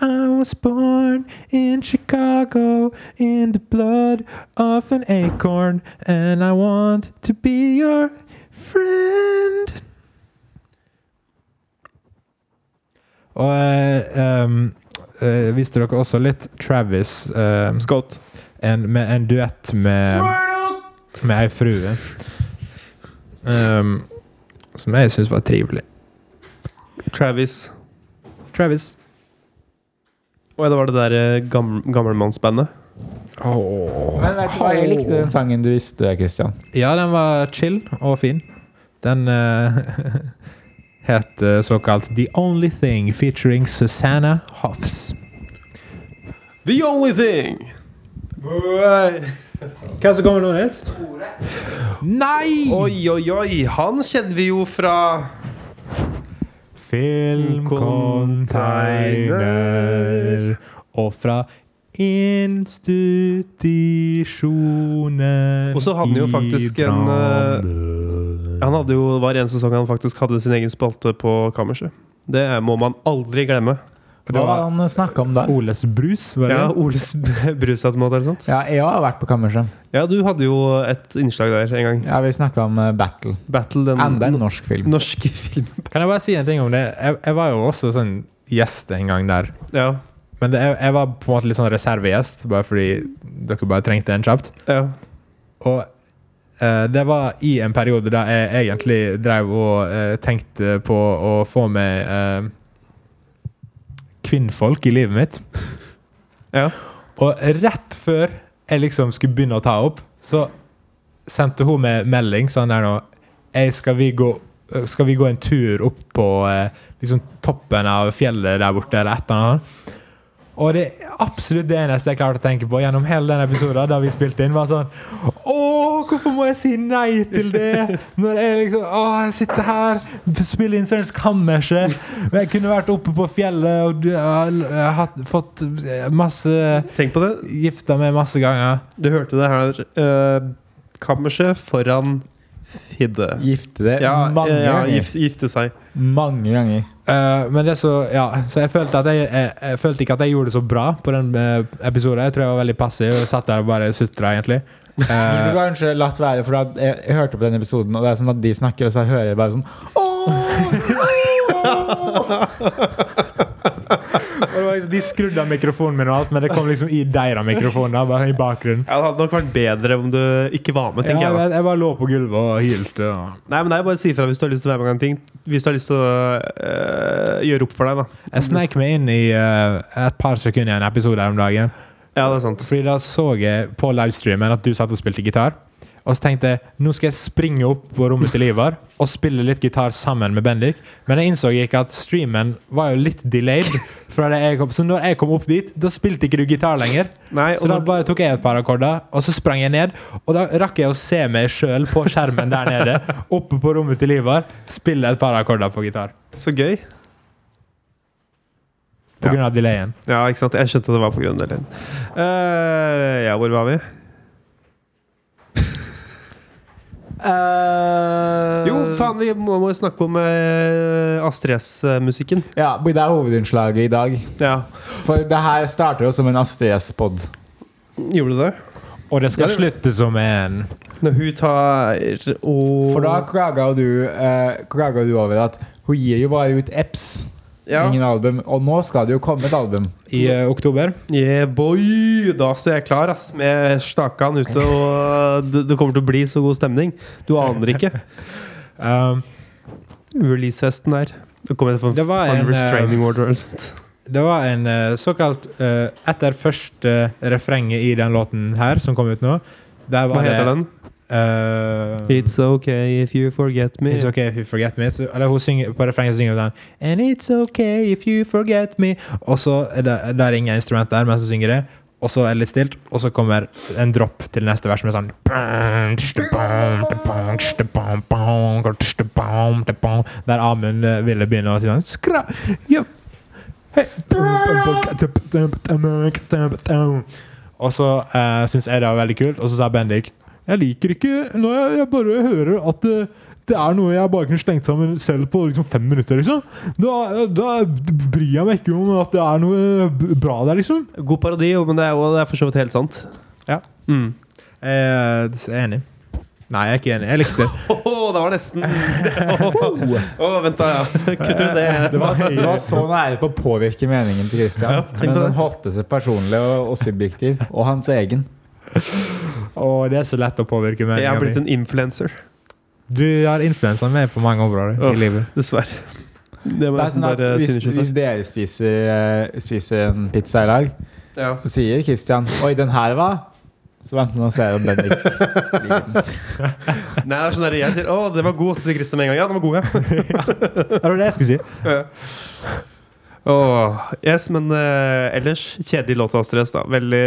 [SPEAKER 3] I was born in Chicago in the blood of an acorn, and I want to be your friend. Og eh, em, eh, viste dere også litt Travis eh, em,
[SPEAKER 1] Scott.
[SPEAKER 3] en, med en duett med, med ei frue. Em, som jeg syns var trivelig.
[SPEAKER 1] Travis.
[SPEAKER 3] Travis.
[SPEAKER 1] Og det var det der eh, gam, gamlemannsbandet.
[SPEAKER 2] Men vet du hva, jeg likte den sangen du visste, Christian.
[SPEAKER 3] Ja, den var chill og fin. Den eh, het eh, såkalt The Only Thing featuring Susanna Hoffs.
[SPEAKER 1] The only thing!
[SPEAKER 3] Hva som kommer nå, Nils? Nei!
[SPEAKER 1] Oi, oi, oi. Han kjenner vi jo fra
[SPEAKER 3] Filmcontainer og fra institusjonen
[SPEAKER 1] Og så hadde han jo faktisk en, eh, Han hadde jo hver eneste sesong han faktisk hadde sin egen spalte på kammerset. Det må man aldri glemme.
[SPEAKER 2] Hva var det han snakka om da?
[SPEAKER 3] Oles Brus, var det?
[SPEAKER 1] Ja, Oles b- brusautomat, eller sånt.
[SPEAKER 2] Ja, jeg har vært på kammerset.
[SPEAKER 1] Ja, du hadde jo et innslag der en gang.
[SPEAKER 2] Ja, vi snakka om eh, Battle.
[SPEAKER 1] Battle, den
[SPEAKER 2] Enda en norsk film.
[SPEAKER 1] norske filmen.
[SPEAKER 3] Kan jeg bare si en ting om det? Jeg, jeg var jo også sånn gjest en gang der.
[SPEAKER 1] Ja.
[SPEAKER 3] Men det, jeg, jeg var på en måte litt sånn reservegjest, bare fordi dere bare trengte en kjapt.
[SPEAKER 1] ja.
[SPEAKER 3] Og eh, det var i en periode da jeg egentlig drev og eh, tenkte på å få meg eh, kvinnfolk i livet mitt.
[SPEAKER 1] Ja.
[SPEAKER 3] Og rett før jeg liksom skulle begynne å ta opp, så sendte hun meg melding sånn der nå «Ei, skal, vi gå, skal vi gå en tur opp på eh, liksom toppen av fjellet der borte, eller et eller annet? Og det er absolutt det eneste jeg klarte å tenke på gjennom hele den episoden. Da vi spilte inn, var sånn Å, hvorfor må jeg si nei til det? Når jeg liksom Å, jeg sitter her, spiller inn Sørens Kammerset. Men jeg kunne vært oppe på fjellet og du- jeg har hatt- fått masse
[SPEAKER 1] Tenk på det.
[SPEAKER 3] Gifta meg masse ganger.
[SPEAKER 1] Du hørte det her. eh, kammerset foran Fidde.
[SPEAKER 2] Gifte det
[SPEAKER 1] Ja,
[SPEAKER 2] mange,
[SPEAKER 1] eh, ja
[SPEAKER 2] ganger.
[SPEAKER 1] gif, gifte seg.
[SPEAKER 2] mange ganger.
[SPEAKER 3] Eh, men det er så Ja, så jeg følte, at jeg, jeg, jeg følte ikke at jeg gjorde det så bra på den eh, episoden. Jeg tror jeg var veldig passiv og satt der og bare sutra, egentlig.
[SPEAKER 2] Du
[SPEAKER 3] Eh,
[SPEAKER 2] skulle kanskje latt være, for da, jeg, jeg hørte på den episoden, og det er sånn at de snakker, og så hører jeg bare sånn «Åh!»
[SPEAKER 3] Og det var liksom, de skrudde av mikrofonen min og alt, men det kom liksom i deres mikrofoner. Bare i bakgrunnen.
[SPEAKER 1] Ja, det hadde nok vært bedre om du ikke var med,
[SPEAKER 3] Ja,
[SPEAKER 1] tenker
[SPEAKER 3] jeg,
[SPEAKER 1] jeg. da.
[SPEAKER 3] jeg bare lå på gulvet og hylte. Og.
[SPEAKER 1] Nei, men det er bare å si ifra hvis du har lyst til å være med på en ting. Hvis du har lyst til å eh, gjøre opp for deg, da.
[SPEAKER 3] Jeg sneik meg inn i eh, et par sekunder i en episode her om dagen.
[SPEAKER 1] Ja, det er sant.
[SPEAKER 3] Fordi da så jeg på livestreamen at du satt og spilte gitar. Og så tenkte jeg nå skal jeg springe opp på rommet til Ivar og spille litt gitar sammen med Bendik. Men jeg innså ikke at streamen var jo litt delayed. Fra det jeg kom. Så når jeg kom opp dit, da spilte ikke du gitar lenger.
[SPEAKER 1] Nei,
[SPEAKER 3] Så
[SPEAKER 1] og
[SPEAKER 3] da
[SPEAKER 1] når,
[SPEAKER 3] bare tok jeg et par akkorder, og så sprang jeg ned. Og da rakk jeg å se meg sjøl på skjermen der nede, oppe på rommet til Ivar, spille et par akkorder på gitar.
[SPEAKER 1] så gøy.
[SPEAKER 3] På grunn av delayen.
[SPEAKER 1] Ja, ikke sant. Jeg skjønte det var på grunn av delen. Eh, ja, hvor var vi?
[SPEAKER 2] eh,
[SPEAKER 1] Jo, faen, vi må, må snakke om eh, Astrid S-musikken.
[SPEAKER 2] Ja, det er hovedinnslaget i dag.
[SPEAKER 1] Ja.
[SPEAKER 2] For det her starter jo som en Astrid S-pod.
[SPEAKER 1] Gjorde du det?
[SPEAKER 3] Og det
[SPEAKER 1] Ja,
[SPEAKER 3] skal
[SPEAKER 1] det-
[SPEAKER 3] slutte som en
[SPEAKER 1] Når hun tar og
[SPEAKER 2] For da klaga jo du, eh, klaga du over at hun gir jo bare ut EPS.
[SPEAKER 1] ja.
[SPEAKER 2] Ingen album. Og nå skal det jo komme et album.
[SPEAKER 3] i eh, oktober.
[SPEAKER 1] Yeah, boy! Da står jeg klar ass, med stakan ute, og det, det kommer til å bli så god stemning. Du aner ikke.
[SPEAKER 3] Um,
[SPEAKER 1] Releasefesten der. Det kommer til å få en,
[SPEAKER 3] Det var en, eh,
[SPEAKER 1] restraining order. eller sånt.
[SPEAKER 3] Det var en eh, såkalt eh, Etter første eh, refrenget i den låten her, som kom ut nå der var
[SPEAKER 1] Hva heter den?
[SPEAKER 3] den?
[SPEAKER 1] It's okay if you forget me.
[SPEAKER 3] It's okay if you forget me. Så, eller hun synger, på refrenget synger hun den And it's okay if you forget me. Og så er det- Der ringer instrumentet her mens hun synger det. og så er det litt stilt, og så kommer en dropp til neste vers med sånn Der Amund eh, ville begynne å si sånn Skra, ja, hei. Og så eh, syns jeg det var veldig kult, og så sa Bendik Jeg liker ikke når jeg, jeg bare hører at eh, det er noe jeg bare kunne slengt sammen selv på liksom fem minutter. liksom da, da bryr jeg meg ikke om at det er noe b- bra der, liksom.
[SPEAKER 1] God parodi, jo, men det er, jo, det er for så vidt helt sant.
[SPEAKER 3] Ja.
[SPEAKER 1] Mm.
[SPEAKER 3] Jeg er enig. Nei, jeg er ikke enig. Jeg likte det.
[SPEAKER 1] Åh, det var nesten Åh, vent da, ja. Kutt ut det.
[SPEAKER 2] Det var, det var så nære på å påvirke meningen til Christian.
[SPEAKER 1] Ja, tenk på
[SPEAKER 2] men
[SPEAKER 1] det.
[SPEAKER 2] den holdt seg personlig og, og subjektiv. Og hans egen.
[SPEAKER 3] Å, det er så lett å påvirke
[SPEAKER 1] Jeg har blitt
[SPEAKER 3] meninga mi.
[SPEAKER 1] en influencer,
[SPEAKER 3] Du har influensa meg på mange områder
[SPEAKER 1] Åh.
[SPEAKER 3] i livet.
[SPEAKER 1] dessverre. Det
[SPEAKER 2] Det
[SPEAKER 1] var
[SPEAKER 2] er sånn
[SPEAKER 1] nesten
[SPEAKER 2] at
[SPEAKER 1] bare
[SPEAKER 2] hvis,
[SPEAKER 1] sinneskytelse.
[SPEAKER 2] hvis dere spiser, eh, spiser en pizza i lag,
[SPEAKER 1] Ja.
[SPEAKER 2] så sier Christian 'Oi, den her, hva?' Så venter han og ser om Bendik liker den.
[SPEAKER 1] Nei, det er sånn der, jeg sier 'Å, det var god', så sier Christian med en gang 'Ja, den var god', ja'.
[SPEAKER 3] Det var det jeg skulle si.
[SPEAKER 1] Åh, yes, men eh, ellers kjedelig låt av Stress, da. Veldig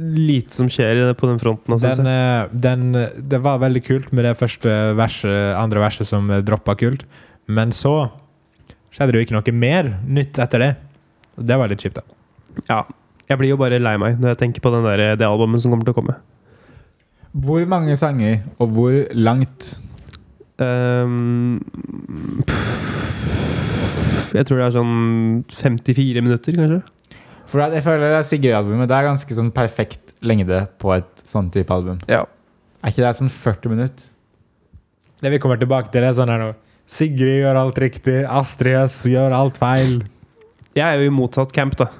[SPEAKER 1] lite som skjer på den fronten. synes
[SPEAKER 3] Den,
[SPEAKER 1] jeg.
[SPEAKER 3] eh, den, eh, det var veldig kult med det første verset, andre verset som eh, droppa kult, men så skjedde det jo ikke noe mer nytt etter det. Og Det var litt kjipt, da.
[SPEAKER 1] Ja. Jeg blir jo bare lei meg når jeg tenker på den der, eh, det albumet som kommer til å komme.
[SPEAKER 2] Hvor mange sanger, og hvor langt?
[SPEAKER 1] Ehm, pff, jeg tror det er sånn 54 minutter, kanskje.
[SPEAKER 2] For at jeg føler det er Sigurd-albumet Det er ganske sånn perfekt lengde på et sånn type album.
[SPEAKER 1] Ja.
[SPEAKER 2] Er ikke det sånn 40 minutter?
[SPEAKER 3] Det vi kommer tilbake til, er sånn her nå. Sigrid gjør alt riktig. Astrid S gjør alt feil.
[SPEAKER 1] Jeg er jo i motsatt camp, da.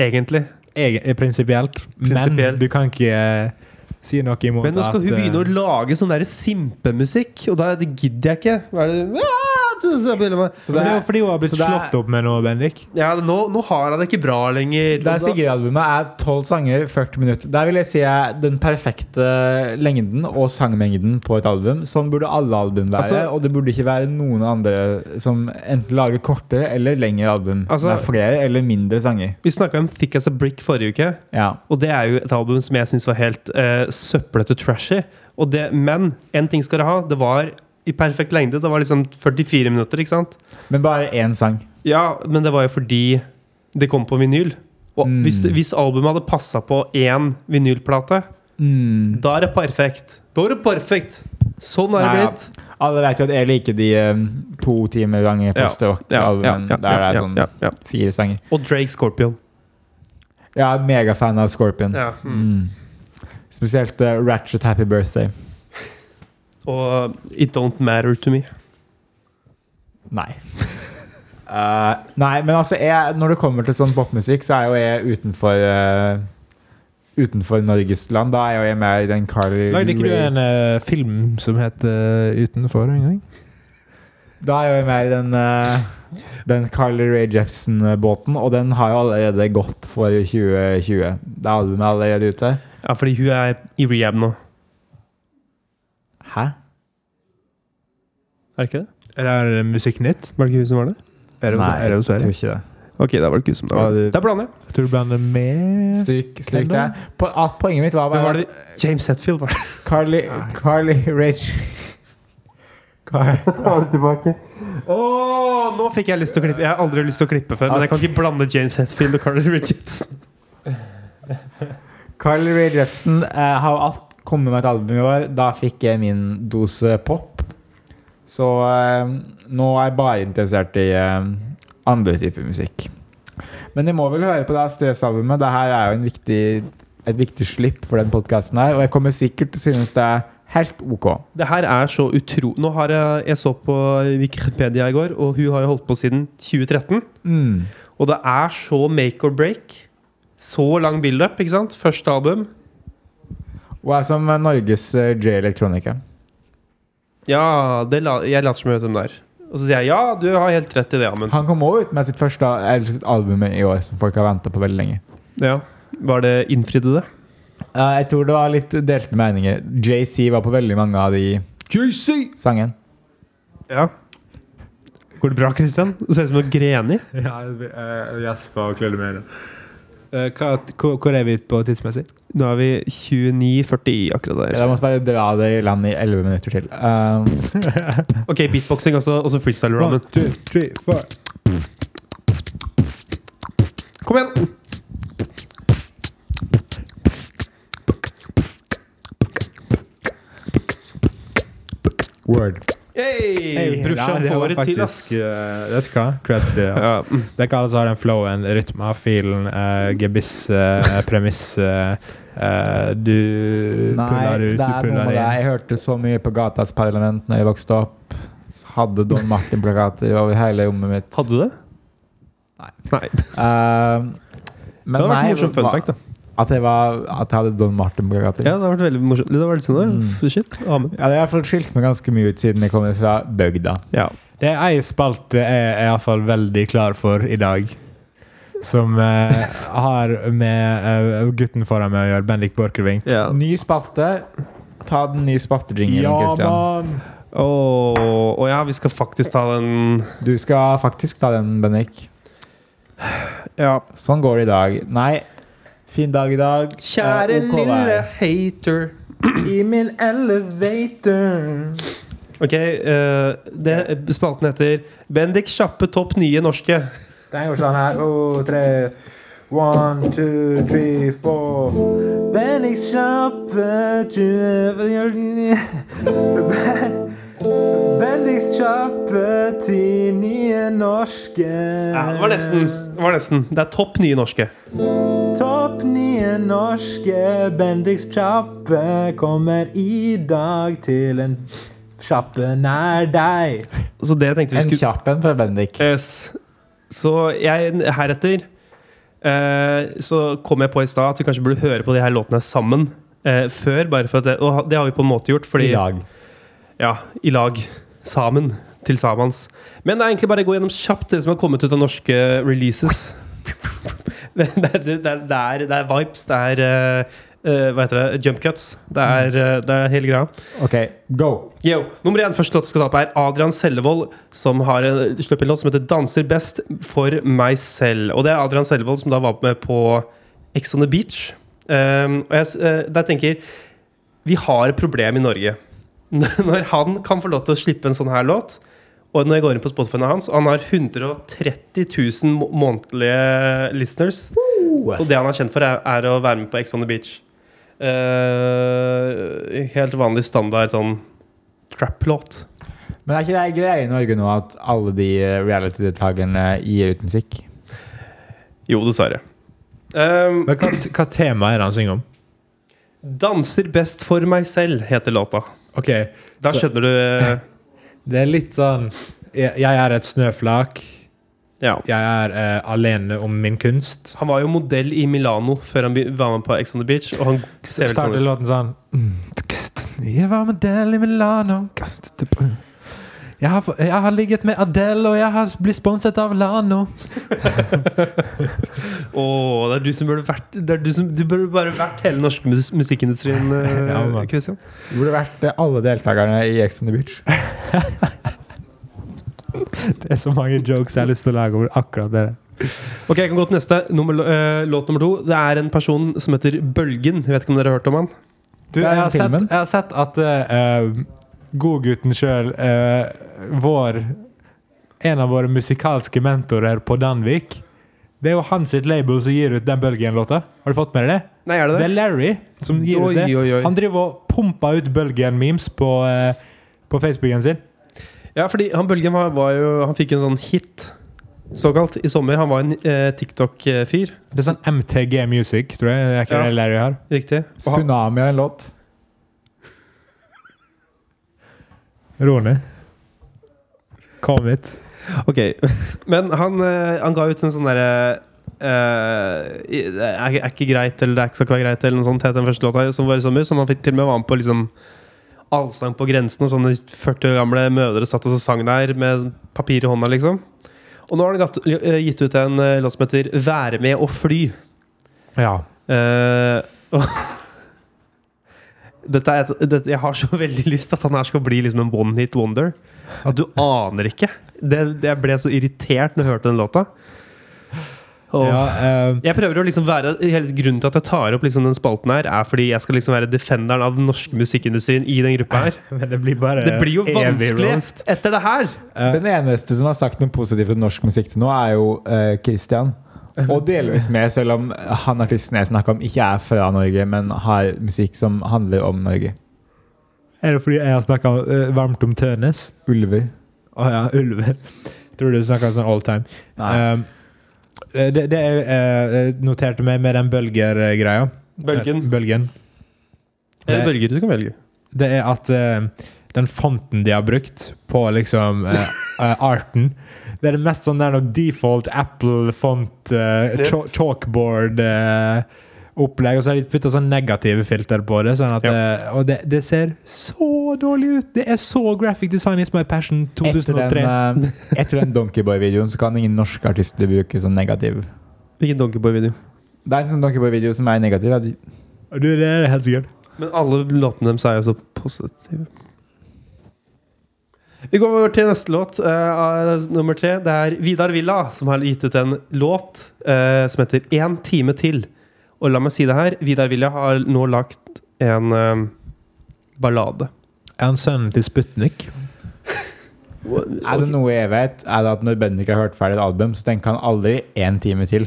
[SPEAKER 1] Egentlig.
[SPEAKER 3] Egen, eh, prinsipielt, men
[SPEAKER 1] Prinsipielt.
[SPEAKER 3] du kan ikke eh, si noe imot
[SPEAKER 1] Men nå skal hun
[SPEAKER 3] at, eh,
[SPEAKER 1] begynne å lage sånn der simpemusikk, og da det gidder jeg ikke. Hva er det? Ah, så- så begynner man-
[SPEAKER 2] Så
[SPEAKER 3] Men
[SPEAKER 2] det
[SPEAKER 3] det er jo
[SPEAKER 2] er,
[SPEAKER 3] fordi hun har blitt
[SPEAKER 2] så det er-
[SPEAKER 3] slått opp med noe, Bendik.
[SPEAKER 1] Ja, nå, nå har jeg det ikke bra lenger.
[SPEAKER 2] det er Sigurd-albumet er 12 sanger, 40 minutter. Der vil jeg si er den perfekte lengden og sangmengden på et album. Sånn burde alle album være,
[SPEAKER 1] Altså-
[SPEAKER 2] og det burde ikke være noen andre som enten lager kortere eller lengre album.
[SPEAKER 1] Altså-
[SPEAKER 2] med flere eller mindre sanger.
[SPEAKER 1] Vi snakka om Thick as a Brick forrige uke,
[SPEAKER 2] Ja.
[SPEAKER 1] og det er jo et album som jeg syns var helt eh, søppelete trashy. Og det, men én ting skal det ha. Det var i perfekt lengde. Det var liksom 44 minutter, ikke sant?
[SPEAKER 2] Men bare én sang.
[SPEAKER 1] Ja, men det var jo fordi det kom på vinyl. Og
[SPEAKER 2] Mm.
[SPEAKER 1] hvis, hvis albumet hadde passa på én vinylplate,
[SPEAKER 2] Mm.
[SPEAKER 1] da er det perfekt. Da er det perfekt! Sånn er det
[SPEAKER 2] Nei, ja.
[SPEAKER 1] blitt.
[SPEAKER 2] Alle vet jo at jeg liker de eh, to timer lange
[SPEAKER 1] Ja.
[SPEAKER 2] post-rock-albumene. der det er sånn
[SPEAKER 1] ja, ja.
[SPEAKER 2] fire sanger.
[SPEAKER 1] Og Drake Scorpion.
[SPEAKER 2] Jeg er megafan av Scorpion.
[SPEAKER 1] Ja. Mm.
[SPEAKER 2] Mm. Spesielt eh, Ratchet Happy Birthday.
[SPEAKER 1] Og It Don't Matter To Me.
[SPEAKER 2] Nei. Eh, nei, men altså jeg, Når det kommer til sånn popmusikk, så er jo jeg utenfor eh, Utenfor Norges land. Da er jo jeg med i den Carly
[SPEAKER 3] Lagde ikke du
[SPEAKER 2] Rae-
[SPEAKER 3] en eh, film som het eh, Utenfor en gang?
[SPEAKER 2] Da er jo jeg med i den eh, Den Carly Rae Jepsen-båten, og den har jo allerede gått for 2020. Det er albumet allerede ute.
[SPEAKER 1] Ja, fordi hun er i rehab nå.
[SPEAKER 2] Hæ?
[SPEAKER 1] Er det ikke det?
[SPEAKER 3] Er det Musikk Nytt?
[SPEAKER 1] Var det ikke hun som var det?
[SPEAKER 3] Er det, er det,
[SPEAKER 2] jeg
[SPEAKER 3] hos dere?
[SPEAKER 2] tror ikke det.
[SPEAKER 1] Ok, da var det ikke hun som
[SPEAKER 2] var det.
[SPEAKER 1] Det er blander.
[SPEAKER 3] Jeg tror du blander med
[SPEAKER 2] Stryk, stryk det. Po at poenget mitt var
[SPEAKER 1] Hvem var
[SPEAKER 2] bare
[SPEAKER 1] det? James Hetfield var det.
[SPEAKER 2] at Carly, Carly Rage Car
[SPEAKER 1] tilbake. Åh, nå fikk jeg lyst til å klippe. Jeg har aldri lyst til å klippe før, men jeg kan ikke blande James Hetfield og Carly Richardson.
[SPEAKER 2] Carly Rae Jepsen eh, har alt kommet med et album i år. Da fikk jeg min dose pop. Så eh, nå er jeg bare interessert i eh, andre typer musikk. Men jeg må vel høre på det Astrid-albumet. Dette er jo en viktig, et viktig slipp for den podkasten her, og jeg kommer sikkert til å synes det er helt ok.
[SPEAKER 1] Det her er så utro... Nå har jeg, jeg så på Wikipedia i går, og hun har jo holdt på siden 2013.
[SPEAKER 2] Mm.
[SPEAKER 1] Og det er så make or break. Så lang build-up, ikke sant? Første album.
[SPEAKER 2] Og er som Norges eh, J Electronica.
[SPEAKER 1] Ja, det la, jeg later som jeg vet hvem det er. Og så sier jeg ja, du har helt rett i det, Amund.
[SPEAKER 2] Han kom også ut med sitt første eh, eller sitt album i år, som folk har venta på veldig lenge.
[SPEAKER 1] Ja. Var det innfridde det?
[SPEAKER 2] Eh, jeg tror det var litt delte meninger. JC var på veldig mange av de
[SPEAKER 1] JC!
[SPEAKER 2] sangen.
[SPEAKER 1] Ja.
[SPEAKER 3] eh,
[SPEAKER 1] Går det bra, Christian? Du ser ut som du har greni.
[SPEAKER 3] Gjespa og klødde med Eh, hva, hvor hvor er vi på tidsmessig?
[SPEAKER 1] Nå er vi 29.40 akkurat der.
[SPEAKER 2] Jeg måtte bare dra det i land i 11 minutter til. Um,
[SPEAKER 1] Ok, beatboxing også, og så freestyle
[SPEAKER 3] One,
[SPEAKER 1] ramen.
[SPEAKER 3] two, three, four.
[SPEAKER 1] Kom igjen!
[SPEAKER 2] word.
[SPEAKER 1] Hey, Brorsan
[SPEAKER 3] Ja, det var
[SPEAKER 1] får det til, ass.
[SPEAKER 3] faktisk, eh, vet du hva? Creds til det. Altså.
[SPEAKER 1] Ja, mm.
[SPEAKER 3] Det er ikke alle som har den flowen, rytma, filen, eh, gebiss, eh, premiss eh, eh, Du
[SPEAKER 2] Nei,
[SPEAKER 3] puller ut,
[SPEAKER 2] det
[SPEAKER 3] du
[SPEAKER 2] er noe
[SPEAKER 3] puller
[SPEAKER 2] med det.
[SPEAKER 3] inn.
[SPEAKER 2] Jeg hørte så mye på Gatas Parlament når jeg vokste opp. Så hadde Don Martin-plakater over hele rommet mitt.
[SPEAKER 1] Hadde du det?
[SPEAKER 2] Nei.
[SPEAKER 1] Nei.
[SPEAKER 2] Um,
[SPEAKER 1] Det
[SPEAKER 2] men
[SPEAKER 1] hadde vært en
[SPEAKER 2] nei,
[SPEAKER 1] morsom fun
[SPEAKER 2] hva-
[SPEAKER 1] fact, da.
[SPEAKER 2] At jeg, var, at jeg hadde Don Martin-plakater.
[SPEAKER 1] Ja, det har vært veldig morsomt. Det har vært sånn, ja.
[SPEAKER 2] Mm.
[SPEAKER 1] Shit. Amen.
[SPEAKER 2] Ja, det har i hvert fall skilt meg ganske mye ut siden jeg kommer fra bygda.
[SPEAKER 1] Ja.
[SPEAKER 3] Det er ei spalte jeg er iallfall veldig klar for i dag. Som eh, har med eh, gutten foran meg å gjøre, Bendik Borchgrevink.
[SPEAKER 1] ja.
[SPEAKER 2] Ny spalte. Ta den nye spalteringen, Kristian.
[SPEAKER 3] mann!
[SPEAKER 1] Åh, å ja, vi skal faktisk ta den
[SPEAKER 2] Du skal faktisk ta den, Bennik.
[SPEAKER 1] Ja.
[SPEAKER 2] Sånn går det i dag. Nei, fin dag i dag.
[SPEAKER 1] Kjære
[SPEAKER 2] Eh, ok
[SPEAKER 1] lille
[SPEAKER 2] vær.
[SPEAKER 1] hater.
[SPEAKER 3] I min elevator.
[SPEAKER 1] Ok, eh, det spalten heter Bendik kjappe topp nye norske.
[SPEAKER 3] Den går sånn her. Oh, tre. One, two, three, four. Bendik kjappe Bendik kjappe ti nye norske.
[SPEAKER 1] Ja, det var nesten. Det var nesten Det er topp nye norske.
[SPEAKER 3] Topp nye norske Bendiks kjappe kommer i dag til en kjappe nær deg.
[SPEAKER 1] Så det tenkte vi
[SPEAKER 2] En
[SPEAKER 1] skulle Eh,
[SPEAKER 2] kjapp en fra Bendik.
[SPEAKER 1] Yes. Så jeg heretter eh, så kom jeg på i stad at vi kanskje burde høre på de her låtene sammen eh, før. Bare for at det, og det har vi på en måte gjort, fordi
[SPEAKER 2] I dag.
[SPEAKER 1] Ja, i lag. Sammen. Til samans. Men det er egentlig bare å gå gjennom kjapt det som har kommet ut av norske releases. Det er, det er, det er, det er vibes, det er eh, eh, Hva heter det? Jump cuts. Det er, eh, det er hele greia.
[SPEAKER 2] OK, go!
[SPEAKER 1] Yo, nummer én første låt skal ta på er Adrian Sellevold, som har en, sluppet en låt som heter 'Danser best for meg selv'. Og det er Adrian Sellevold som da var med på Ex on the Beach. Um, og jeg, s- eh, der tenker Vi har et problem i Norge. Når han kan få lov til å slippe en sånn her låt, og når jeg går inn på Spotify hans, og han har 130 000 må- månedlige listeners, og det han er kjent for, er, er å være med på Ex on the Beach. Eh, helt vanlig standard sånn trap-låt.
[SPEAKER 2] Men er ikke det en greie i Norge nå at alle de eh, reality-deltakerne gir ut musikk?
[SPEAKER 1] Jo, dessverre. Ehm,
[SPEAKER 3] Men hva, hva tema er det han synger om?
[SPEAKER 1] 'Danser best for meg selv' heter låta.
[SPEAKER 3] Ok,
[SPEAKER 1] Da
[SPEAKER 3] Så-
[SPEAKER 1] skjønner du eh,
[SPEAKER 3] Det er litt sånn Jeg, jeg er et snøflak.
[SPEAKER 1] Ja.
[SPEAKER 3] Jeg er eh, alene om min kunst.
[SPEAKER 1] Han var jo modell i Milano før han be- var med på Ex on the Beach, og han ser veldig
[SPEAKER 3] Starter
[SPEAKER 1] sånn ut.
[SPEAKER 3] låten sånn Jeg var modell i Milano jeg har, jeg har ligget med Adele, og jeg har blitt sponset av Lano.
[SPEAKER 1] Åh, det er du som burde vært det er du, som, du burde bare vært hele norske mus musikkindustrien, eh,
[SPEAKER 3] Ja, men-
[SPEAKER 1] Christian.
[SPEAKER 2] Det burde vært eh, alle deltakerne i Ex on the Beach.
[SPEAKER 3] Det er så mange jokes jeg har lyst til å lage over akkurat det.
[SPEAKER 1] Ok, jeg kan gå til neste. Nummer, eh, låt nummer to. Det er en person som heter Bølgen. Jeg vet ikke om dere har hørt om han?
[SPEAKER 3] Du,
[SPEAKER 2] Det er
[SPEAKER 3] jeg har, sett,
[SPEAKER 2] filmen.
[SPEAKER 3] jeg har sett at eh, godgutten sjøl, vår En av våre musikalske mentorer på Danvik Det er jo hans sitt label som gir ut den Bølgen-låta. Har du fått med deg det?
[SPEAKER 1] Nei, er det
[SPEAKER 3] Det
[SPEAKER 1] det?
[SPEAKER 3] er Larry som gir ut det.
[SPEAKER 1] Oi, oi, oi.
[SPEAKER 3] Han driver og pumper ut Bølgen-memes på, eh, på Facebooken sin.
[SPEAKER 1] Ja, fordi han Bølgen var, var jo Han fikk en sånn hit, såkalt, i sommer. Han var en eh, TikTok-fyr.
[SPEAKER 3] Det er sånn MTG Music, tror jeg. Det er ikke
[SPEAKER 1] Ja.
[SPEAKER 3] det Larry har.
[SPEAKER 1] Riktig. Og han,
[SPEAKER 2] Tsunami er en låt.
[SPEAKER 3] Ro ned. Kom hit.
[SPEAKER 1] Ok, Men han, eh, han ga ut en sånn derre eh, i- det er, er ikke greit, eller det er ikke skal ikke være greit, eller noe sånt, het den første låta som var i sommer. Som han fikk til og med være med på liksom Allsang på grensen, og sånne 40 år gamle mødre satt og så sang der med papir i hånda, liksom. Og nå har han gatt, eh, gitt ut en eh, låt som heter 'Være med og fly'.
[SPEAKER 3] Ja.
[SPEAKER 1] Eh, og dette er et, dette, jeg har så veldig lyst til at han her skal bli liksom en one hit wonder. At du aner ikke. Det, det, jeg ble så irritert når jeg hørte den låta. Og
[SPEAKER 3] Ja, eh,
[SPEAKER 1] Jeg prøver å liksom være hele Grunnen til at jeg tar opp liksom den spalten her, er fordi jeg skal liksom være defenderen av den norske musikkindustrien i den gruppa her.
[SPEAKER 3] men det blir bare
[SPEAKER 1] Det blir jo
[SPEAKER 3] evig
[SPEAKER 1] vanskelig
[SPEAKER 3] roast.
[SPEAKER 1] etter det her!
[SPEAKER 3] Ja.
[SPEAKER 2] Den eneste som har sagt noe positivt om norsk musikk til nå, er jo eh, Christian. Og delvis med, selv om han artisten jeg snakker om, ikke er fra Norge, men har musikk som handler om Norge.
[SPEAKER 3] Er det fordi jeg har snakka varmt om Tønes?
[SPEAKER 2] Ulver.
[SPEAKER 3] Å ja, ulver. Tror du snakka sånn all time.
[SPEAKER 2] Nei.
[SPEAKER 3] Eh, det, det jeg eh, noterte meg med den bølger-greia
[SPEAKER 1] Bølgen.
[SPEAKER 3] Eh, Bølgen.
[SPEAKER 1] Eller bølger du kan velge.
[SPEAKER 3] Det er at eh, den fonten de har brukt på liksom eh, eh, arten Det er det mest sånn der noe default Apple-font, eh,
[SPEAKER 1] Ja.
[SPEAKER 3] chalk- chalkboard eh, Opplegg, og så har de putta sånn negative filter på det. Sånn at,
[SPEAKER 1] Ja.
[SPEAKER 3] eh, og det, det ser så dårlig ut! Det er så graphic design is my passion
[SPEAKER 2] Etter
[SPEAKER 3] 2003.
[SPEAKER 2] den, eh, etter den Donkeyboy-videoen så kan ingen norske artister bruke som negativ.
[SPEAKER 1] Hvilken Donkeyboy-video?
[SPEAKER 2] Det er en sånn Donkeyboy-video som er negativ. ja. De-
[SPEAKER 3] Du, det er helt sikkert.
[SPEAKER 1] Men alle låtene deres er jo så positive. Vi går over til neste låt, eh, av nummer tre. Det er Vidar Villa som har gitt ut en låt eh, som heter 'Én time til'. Og la meg si det her, Vidar Villa har nå lagt en eh, ballade.
[SPEAKER 3] Er han sønnen til Sputnik?
[SPEAKER 2] Er det noe jeg vet, er det at når Bendik har hørt ferdig et album, så tenker han aldri én time til.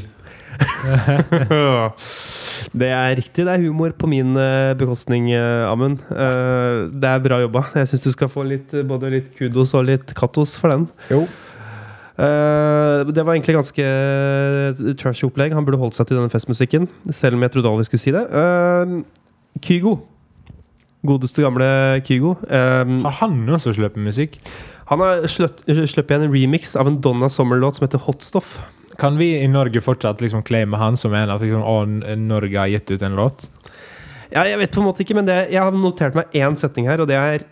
[SPEAKER 1] det er riktig. Det er humor på min eh, bekostning, eh, Amund. Eh, det er bra jobba. Jeg syns du skal få litt, eh, både litt kudos og litt kattos for den.
[SPEAKER 2] Jo.
[SPEAKER 1] Eh, det var egentlig ganske eh, trashy opplegg. Han burde holdt seg til denne festmusikken, selv om jeg trodde aldri skulle si det. Eh, Kygo. Godeste gamle Kygo. Eh,
[SPEAKER 3] Har han også sluppet musikk?
[SPEAKER 1] han har sløtt- eh, sluppet igjen en remix av en Donna Summer-låt som heter Hot Stuff.
[SPEAKER 3] Kan vi i Norge fortsatt liksom claime han som en av liksom, å, N- Norge har gitt ut en låt?
[SPEAKER 1] Ja, jeg vet på en måte ikke, men det, jeg har notert meg én setning her, og det er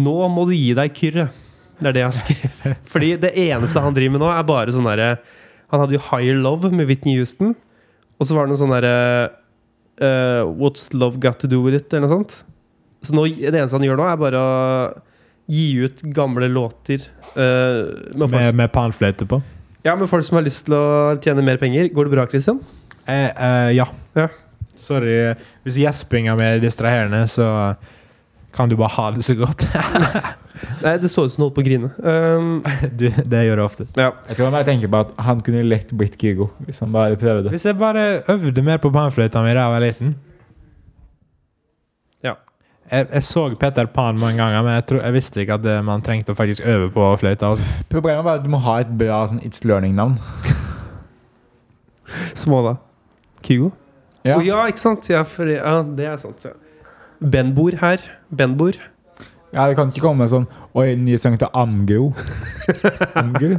[SPEAKER 1] Nå må du gi deg kyrre. Det er det jeg har skrevet. Fordi det eneste han driver med nå, er bare sånn derre Han hadde jo Higher Love med Whitney Houston, og så var det noe sånn derre eh, What's love got to do with it? eller noe sånt. Så nå, det eneste han gjør nå, er bare å gi ut gamle låter. eh, med folk,
[SPEAKER 3] Med, med panfløyte på?
[SPEAKER 1] ja, med folk som har lyst til å tjene mer penger. Går det bra, Christian?
[SPEAKER 3] Eh, eh, ja.
[SPEAKER 1] Ja.
[SPEAKER 3] Sorry. Hvis gjespinga mi er distraherende, så kan du bare ha det så godt.
[SPEAKER 1] Nei, det så ut som du holdt på å grine. Um,
[SPEAKER 3] Du, det gjør jeg ofte.
[SPEAKER 1] ja.
[SPEAKER 2] Jeg tror han bare tenker på at han kunne lett blitt Kygo hvis han bare prøvde.
[SPEAKER 3] Hvis jeg bare øvde mer på panfløyta mi da jeg var liten
[SPEAKER 1] Ja.
[SPEAKER 3] Jeg, jeg så Peter Pan mange ganger, men jeg, tror, jeg visste ikke at eh, man trengte å faktisk øve på fløyta. Altså.
[SPEAKER 2] Problemet er bare at du må ha et bra sånn It's Learning-navn.
[SPEAKER 1] Småla. Kygo?
[SPEAKER 2] Ja.
[SPEAKER 1] Ja. ja, ikke sant? Ja, for, ja, det er sant. Ja. Benbor her. Benbor.
[SPEAKER 2] Ja, Det kan ikke komme sånn Oi, ny sang til Amgro. Amgro?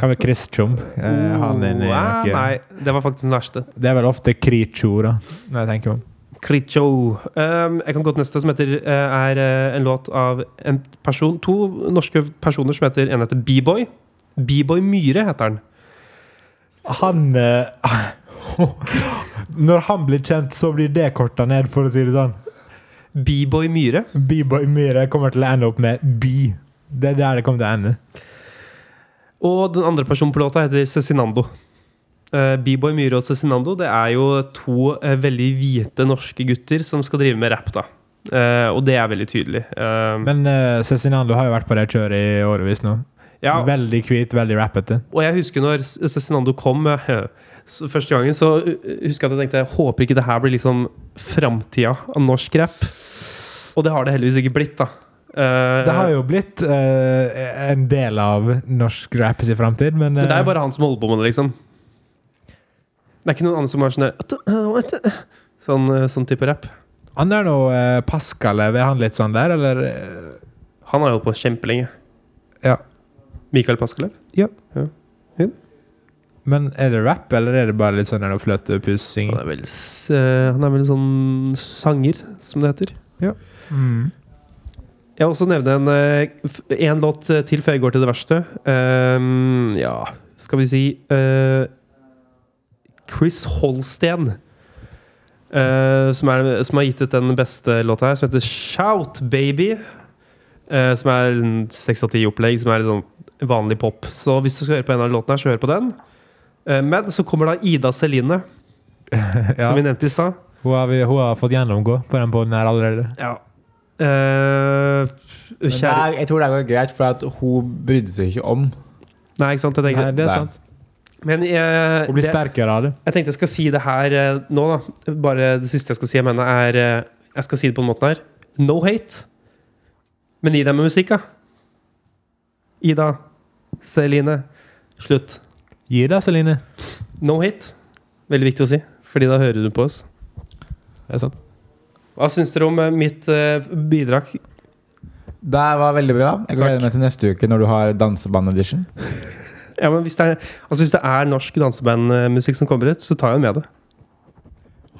[SPEAKER 3] Kan være Chris Tjom. Eh, han er inne i
[SPEAKER 1] Ah,
[SPEAKER 3] noe-
[SPEAKER 1] Nei, det var faktisk den verste.
[SPEAKER 3] Det er vel ofte Kricho, da, når jeg tenker om.
[SPEAKER 1] Kricho. Um, jeg kan gå til neste, som heter eh, er eh, en låt av en person To norske personer som heter En heter B-Boy. B-Boy Myhre heter han.
[SPEAKER 3] Han eh, Når han blir kjent, så blir det korta ned, for å si det sånn.
[SPEAKER 1] B-Boy Myhre.
[SPEAKER 3] B-boy Myhre kommer til å ende opp med B. Det er der det kommer til å ende.
[SPEAKER 1] Og den andre personen på låta heter Cezinando. Eh, B-Boy Myhre og Cezinando Det er jo to eh, veldig hvite norske gutter som skal drive med rap. da Eh, Og det er veldig tydelig. Eh,
[SPEAKER 3] Men uh, Cezinando har jo vært på det kjøret i årevis nå.
[SPEAKER 1] ja,
[SPEAKER 3] Veldig hvit, veldig rappete.
[SPEAKER 1] og jeg husker når Ce- Cezinando kom eh, så første gangen, så eh, husker jeg at jeg tenkte jeg håper ikke det her blir liksom framtida av norsk rap. Og det har det heldigvis ikke blitt, da. Eh,
[SPEAKER 3] Det har jo blitt eh, en del av norsk rap sin framtid, men
[SPEAKER 1] Men det er
[SPEAKER 3] eh,
[SPEAKER 1] jo bare han som holder på med det, liksom. Det er ikke noen andre som har sånn der Sånn, eh, sånn type rap.
[SPEAKER 3] Han er nå uh, Pascal, er han litt sånn der, eller? eh,
[SPEAKER 1] Han har holdt på kjempelenge.
[SPEAKER 3] Ja.
[SPEAKER 1] Mikael Paskelev?
[SPEAKER 3] Men er det rap, eller er det bare litt sånn der fløtepussing?
[SPEAKER 1] Han er vel s- eh, Han er vel sånn sanger, som det heter.
[SPEAKER 3] Mm.
[SPEAKER 1] Jeg vil også nevne en, eh, f- en låt eh, til før jeg går til det verste. Ehm, ja, skal vi si eh, Chris Holsten. eh, som, er, som har gitt ut den beste låta her, som heter 'Shout Baby'. eh, som er en seks av ti opplegg, som er litt sånn vanlig pop. Så hvis du skal høre på en av låtene her, så hør på den. Eh, Men så kommer da Ida Celine,
[SPEAKER 3] ja.
[SPEAKER 1] som vi nevnte i stad.
[SPEAKER 3] Hun, har vi, hun har fått gjennomgå på den poden her allerede.
[SPEAKER 1] Ja. Eh,
[SPEAKER 2] Men
[SPEAKER 1] kjære
[SPEAKER 2] der, jeg tror det går greit, for at hun brydde seg ikke om.
[SPEAKER 1] Nei, ikke sant? Jeg
[SPEAKER 3] Nei,
[SPEAKER 1] tenkte,
[SPEAKER 3] det er
[SPEAKER 2] Nei.
[SPEAKER 3] sant.
[SPEAKER 1] men jeg,
[SPEAKER 3] Hun blir
[SPEAKER 1] det,
[SPEAKER 3] sterkere av det.
[SPEAKER 1] jeg tenkte jeg skal si det her eh, nå, da. Bare det siste jeg skal si om henne, er eh, Jeg skal si det på den måten her. No hate. Men gi deg med musikk, da. Ida, Celine, slutt.
[SPEAKER 3] Gi deg, Celine.
[SPEAKER 1] No hate. Veldig viktig å si, fordi da hører du på oss.
[SPEAKER 3] Det er sant.
[SPEAKER 1] Hva syns dere om eh, mitt eh, bidrag?
[SPEAKER 2] Det var veldig bra.
[SPEAKER 1] Takk.
[SPEAKER 2] Jeg gleder meg til neste uke når du har danseband-edition.
[SPEAKER 1] Ja, men hvis det er, altså hvis det er norsk dansebandmusikk som kommer ut, så tar jeg den med det.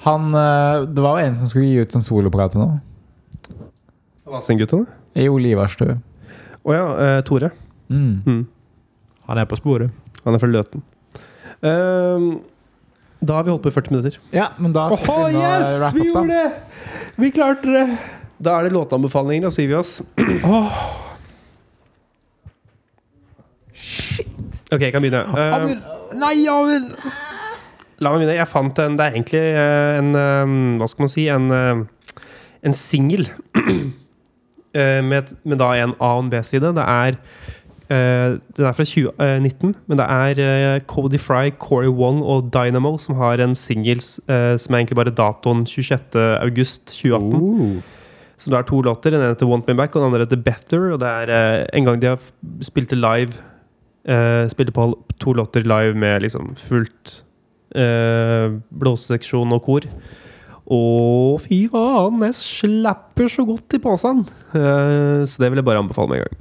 [SPEAKER 2] Han, eh, Det var jo en som skulle gi ut sånn soloplate nå.
[SPEAKER 1] Vassendguttene?
[SPEAKER 2] I Ole Ivarstø.
[SPEAKER 1] Å ja, eh, Tore.
[SPEAKER 2] Mm.
[SPEAKER 1] Mm.
[SPEAKER 3] Han er på sporet.
[SPEAKER 1] Han er fra Løten. Ehm, da har vi holdt på i 40 minutter.
[SPEAKER 2] Ja, men da skal vi begynne å wrap up, da.
[SPEAKER 3] det! Vi klarte det!
[SPEAKER 1] Da er det låtanbefalinger, da sier vi oss. Ok, jeg kan begynne. Ehm,
[SPEAKER 3] Nei, Amund!
[SPEAKER 1] La meg begynne. Jeg fant en Det er egentlig eh, en eh, Hva skal man si? En, eh, en singel. Eh, Med, et- med da en A- og en B-side. Det er eh, Den er fra 2019, men det er eh, Cody Fry, Corey Wong og Dynamo som har en singel eh, som er egentlig bare datoen 26.8.2018. Som det er to låter. Den ene heter Want Me Back, og den andre heter Better. Og det er eh, en gang de har f- spilte live eh, Spilte på to låter live med liksom fullt eh, blåseseksjon og kor. Og fy faen, jeg slapper så godt i posen! Eh, så det vil jeg bare anbefale med en gang.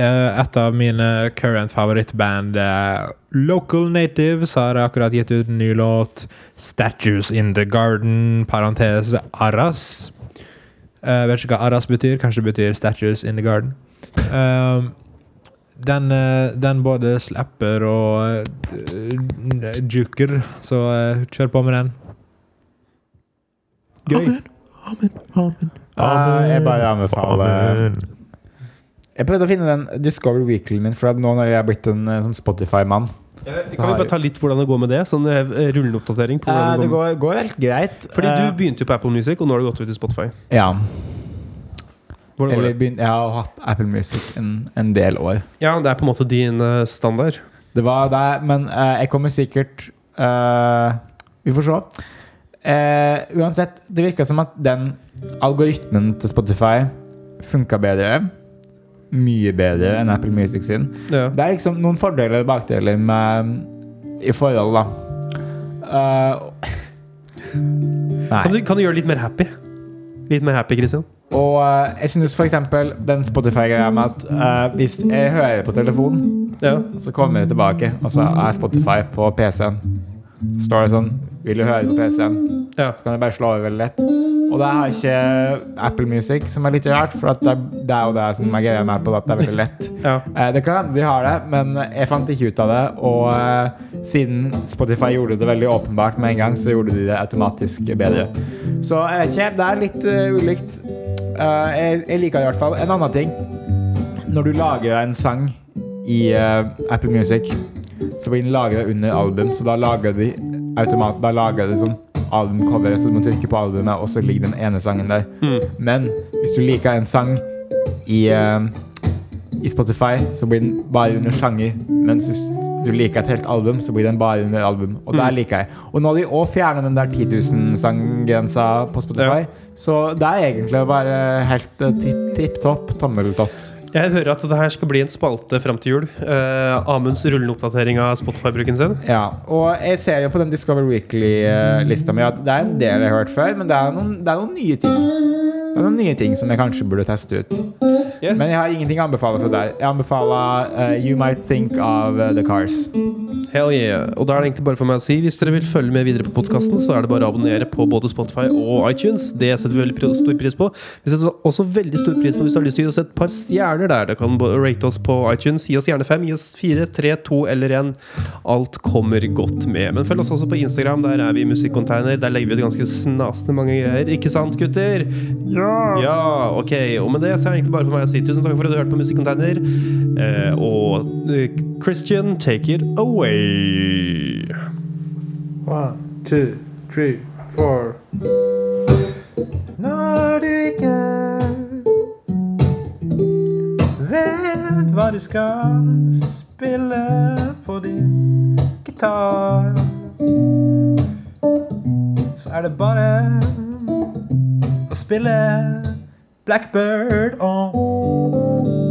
[SPEAKER 3] Eh, Et av mine current favorittband, eh, Local Natives, har akkurat gitt ut en ny låt. Statues in the Garden, parentes Arras. Eh, vet ikke hva Arras betyr. Kanskje det betyr Statues in the Garden. Um, den, eh, den både slapper og eh, d- juker, så eh, kjør på med den. Gøy.
[SPEAKER 2] Ja, jeg bare anbefaler Jeg prøvde å finne den Discovery Weekly min, for at nå når jeg er blitt en eh, sånn Spotify-mann Så
[SPEAKER 1] kan vi
[SPEAKER 2] har
[SPEAKER 1] bare
[SPEAKER 2] jeg-
[SPEAKER 1] ta litt hvordan det går med det? Sånn eh, rullende oppdatering. På hvordan
[SPEAKER 2] Eh, Det
[SPEAKER 1] det går.
[SPEAKER 2] går, går helt greit.
[SPEAKER 1] Fordi
[SPEAKER 2] Eh,
[SPEAKER 1] du begynte jo på Apple Music, og nå har du gått ut i Spotify.
[SPEAKER 2] Ja.
[SPEAKER 1] Hvordan går
[SPEAKER 2] Eller
[SPEAKER 1] det?
[SPEAKER 2] begyn- jeg har hatt Apple Music en, en del år.
[SPEAKER 1] Ja, det er på en måte din eh, standard.
[SPEAKER 2] Det var der, men eh, jeg kommer sikkert eh, Vi får se. Eh, uansett, det virka som at den algoritmen til Spotify funka bedre. Mye bedre enn Apple Music sin.
[SPEAKER 1] Ja.
[SPEAKER 2] Det er liksom noen fordeler og bakdeler med, i forhold, da. Eh,
[SPEAKER 1] Kan, du, kan du gjøre det litt mer happy? Litt mer happy, Christian?
[SPEAKER 2] og eh, jeg synes for eksempel den Spotify-greia med at eh, hvis jeg hører på telefonen
[SPEAKER 1] Ja.
[SPEAKER 2] Så kommer jeg tilbake, og så er Spotify på PC-en. Så står det sånn Vil du høre på PC-en?
[SPEAKER 1] Ja.
[SPEAKER 2] Så kan du bare slå over veldig lett. Og det har ikke Apple Music, som er litt rart, for at det, er- det er jo det som er greia med Apple, at det er veldig lett.
[SPEAKER 1] ja.
[SPEAKER 2] Eh, Det kan hende de har det, men jeg fant ikke ut av det. Og eh, siden Spotify gjorde det veldig åpenbart med en gang, så gjorde de det automatisk bedre. Så jeg vet ikke. Det er litt eh, ulikt. Eh, jeg, jeg liker det i hvert fall. En annen ting. Når du lager en sang i eh, Apple Music, så blir den lagra under album, så da lager de automat, da lager de sånn albumcover, så du må trykke på albumet, og så ligger den ene sangen der. Men hvis du liker en sang i, eh, i Spotify, så blir den bare under sjanger. Mens hvis du liker et helt album, så blir den bare under album. Og der
[SPEAKER 1] Mm.
[SPEAKER 2] liker jeg. Og nå har de òg fjernet den der 10 000-sanggrensa på Spotify, så det er egentlig bare helt eh, tipp, tipp topp tommeltott.
[SPEAKER 1] Jeg hører at det her skal bli en spalte fram til jul. Eh, Amunds rullende oppdatering av Spotify-bruken sin.
[SPEAKER 2] Ja, og jeg ser jo på den Discover Weekly-lista mi at det er en del jeg har hørt før, men det er noen, det er noen nye ting. Det er noen nye ting som jeg kanskje burde teste ut.
[SPEAKER 1] Yes.
[SPEAKER 2] Men jeg har ingenting å anbefale for deg. Jeg anbefaler eh, You Might Think of eh, The Cars.
[SPEAKER 1] Hell yeah. Og da er det egentlig bare for meg å si hvis dere vil følge med videre på podkasten, så er det bare å abonnere på både Spotify og iTunes. Det setter vi veldig pr- stor pris på. Vi setter også veldig stor pris på hvis du har lyst til å gi oss et par stjerner der. Du kan både rate oss på iTunes. Gi oss gjerne fem. Gi oss fire, tre, to eller én. Alt kommer godt med. Men følg oss også på Instagram. Der er vi i Musikkonteiner. Der legger vi ut ganske snasende mange greier. Ikke sant, gutter? Ja! ja ok. Og med det så er det egentlig bare for meg å si tusen takk for at du hørte på Musikkonteiner. Eh, og eh, Christian, take it away.
[SPEAKER 3] One, two, three, four. Når du ikke vet hva du skal spille på din gitar, så er det bare å spille Blackbird on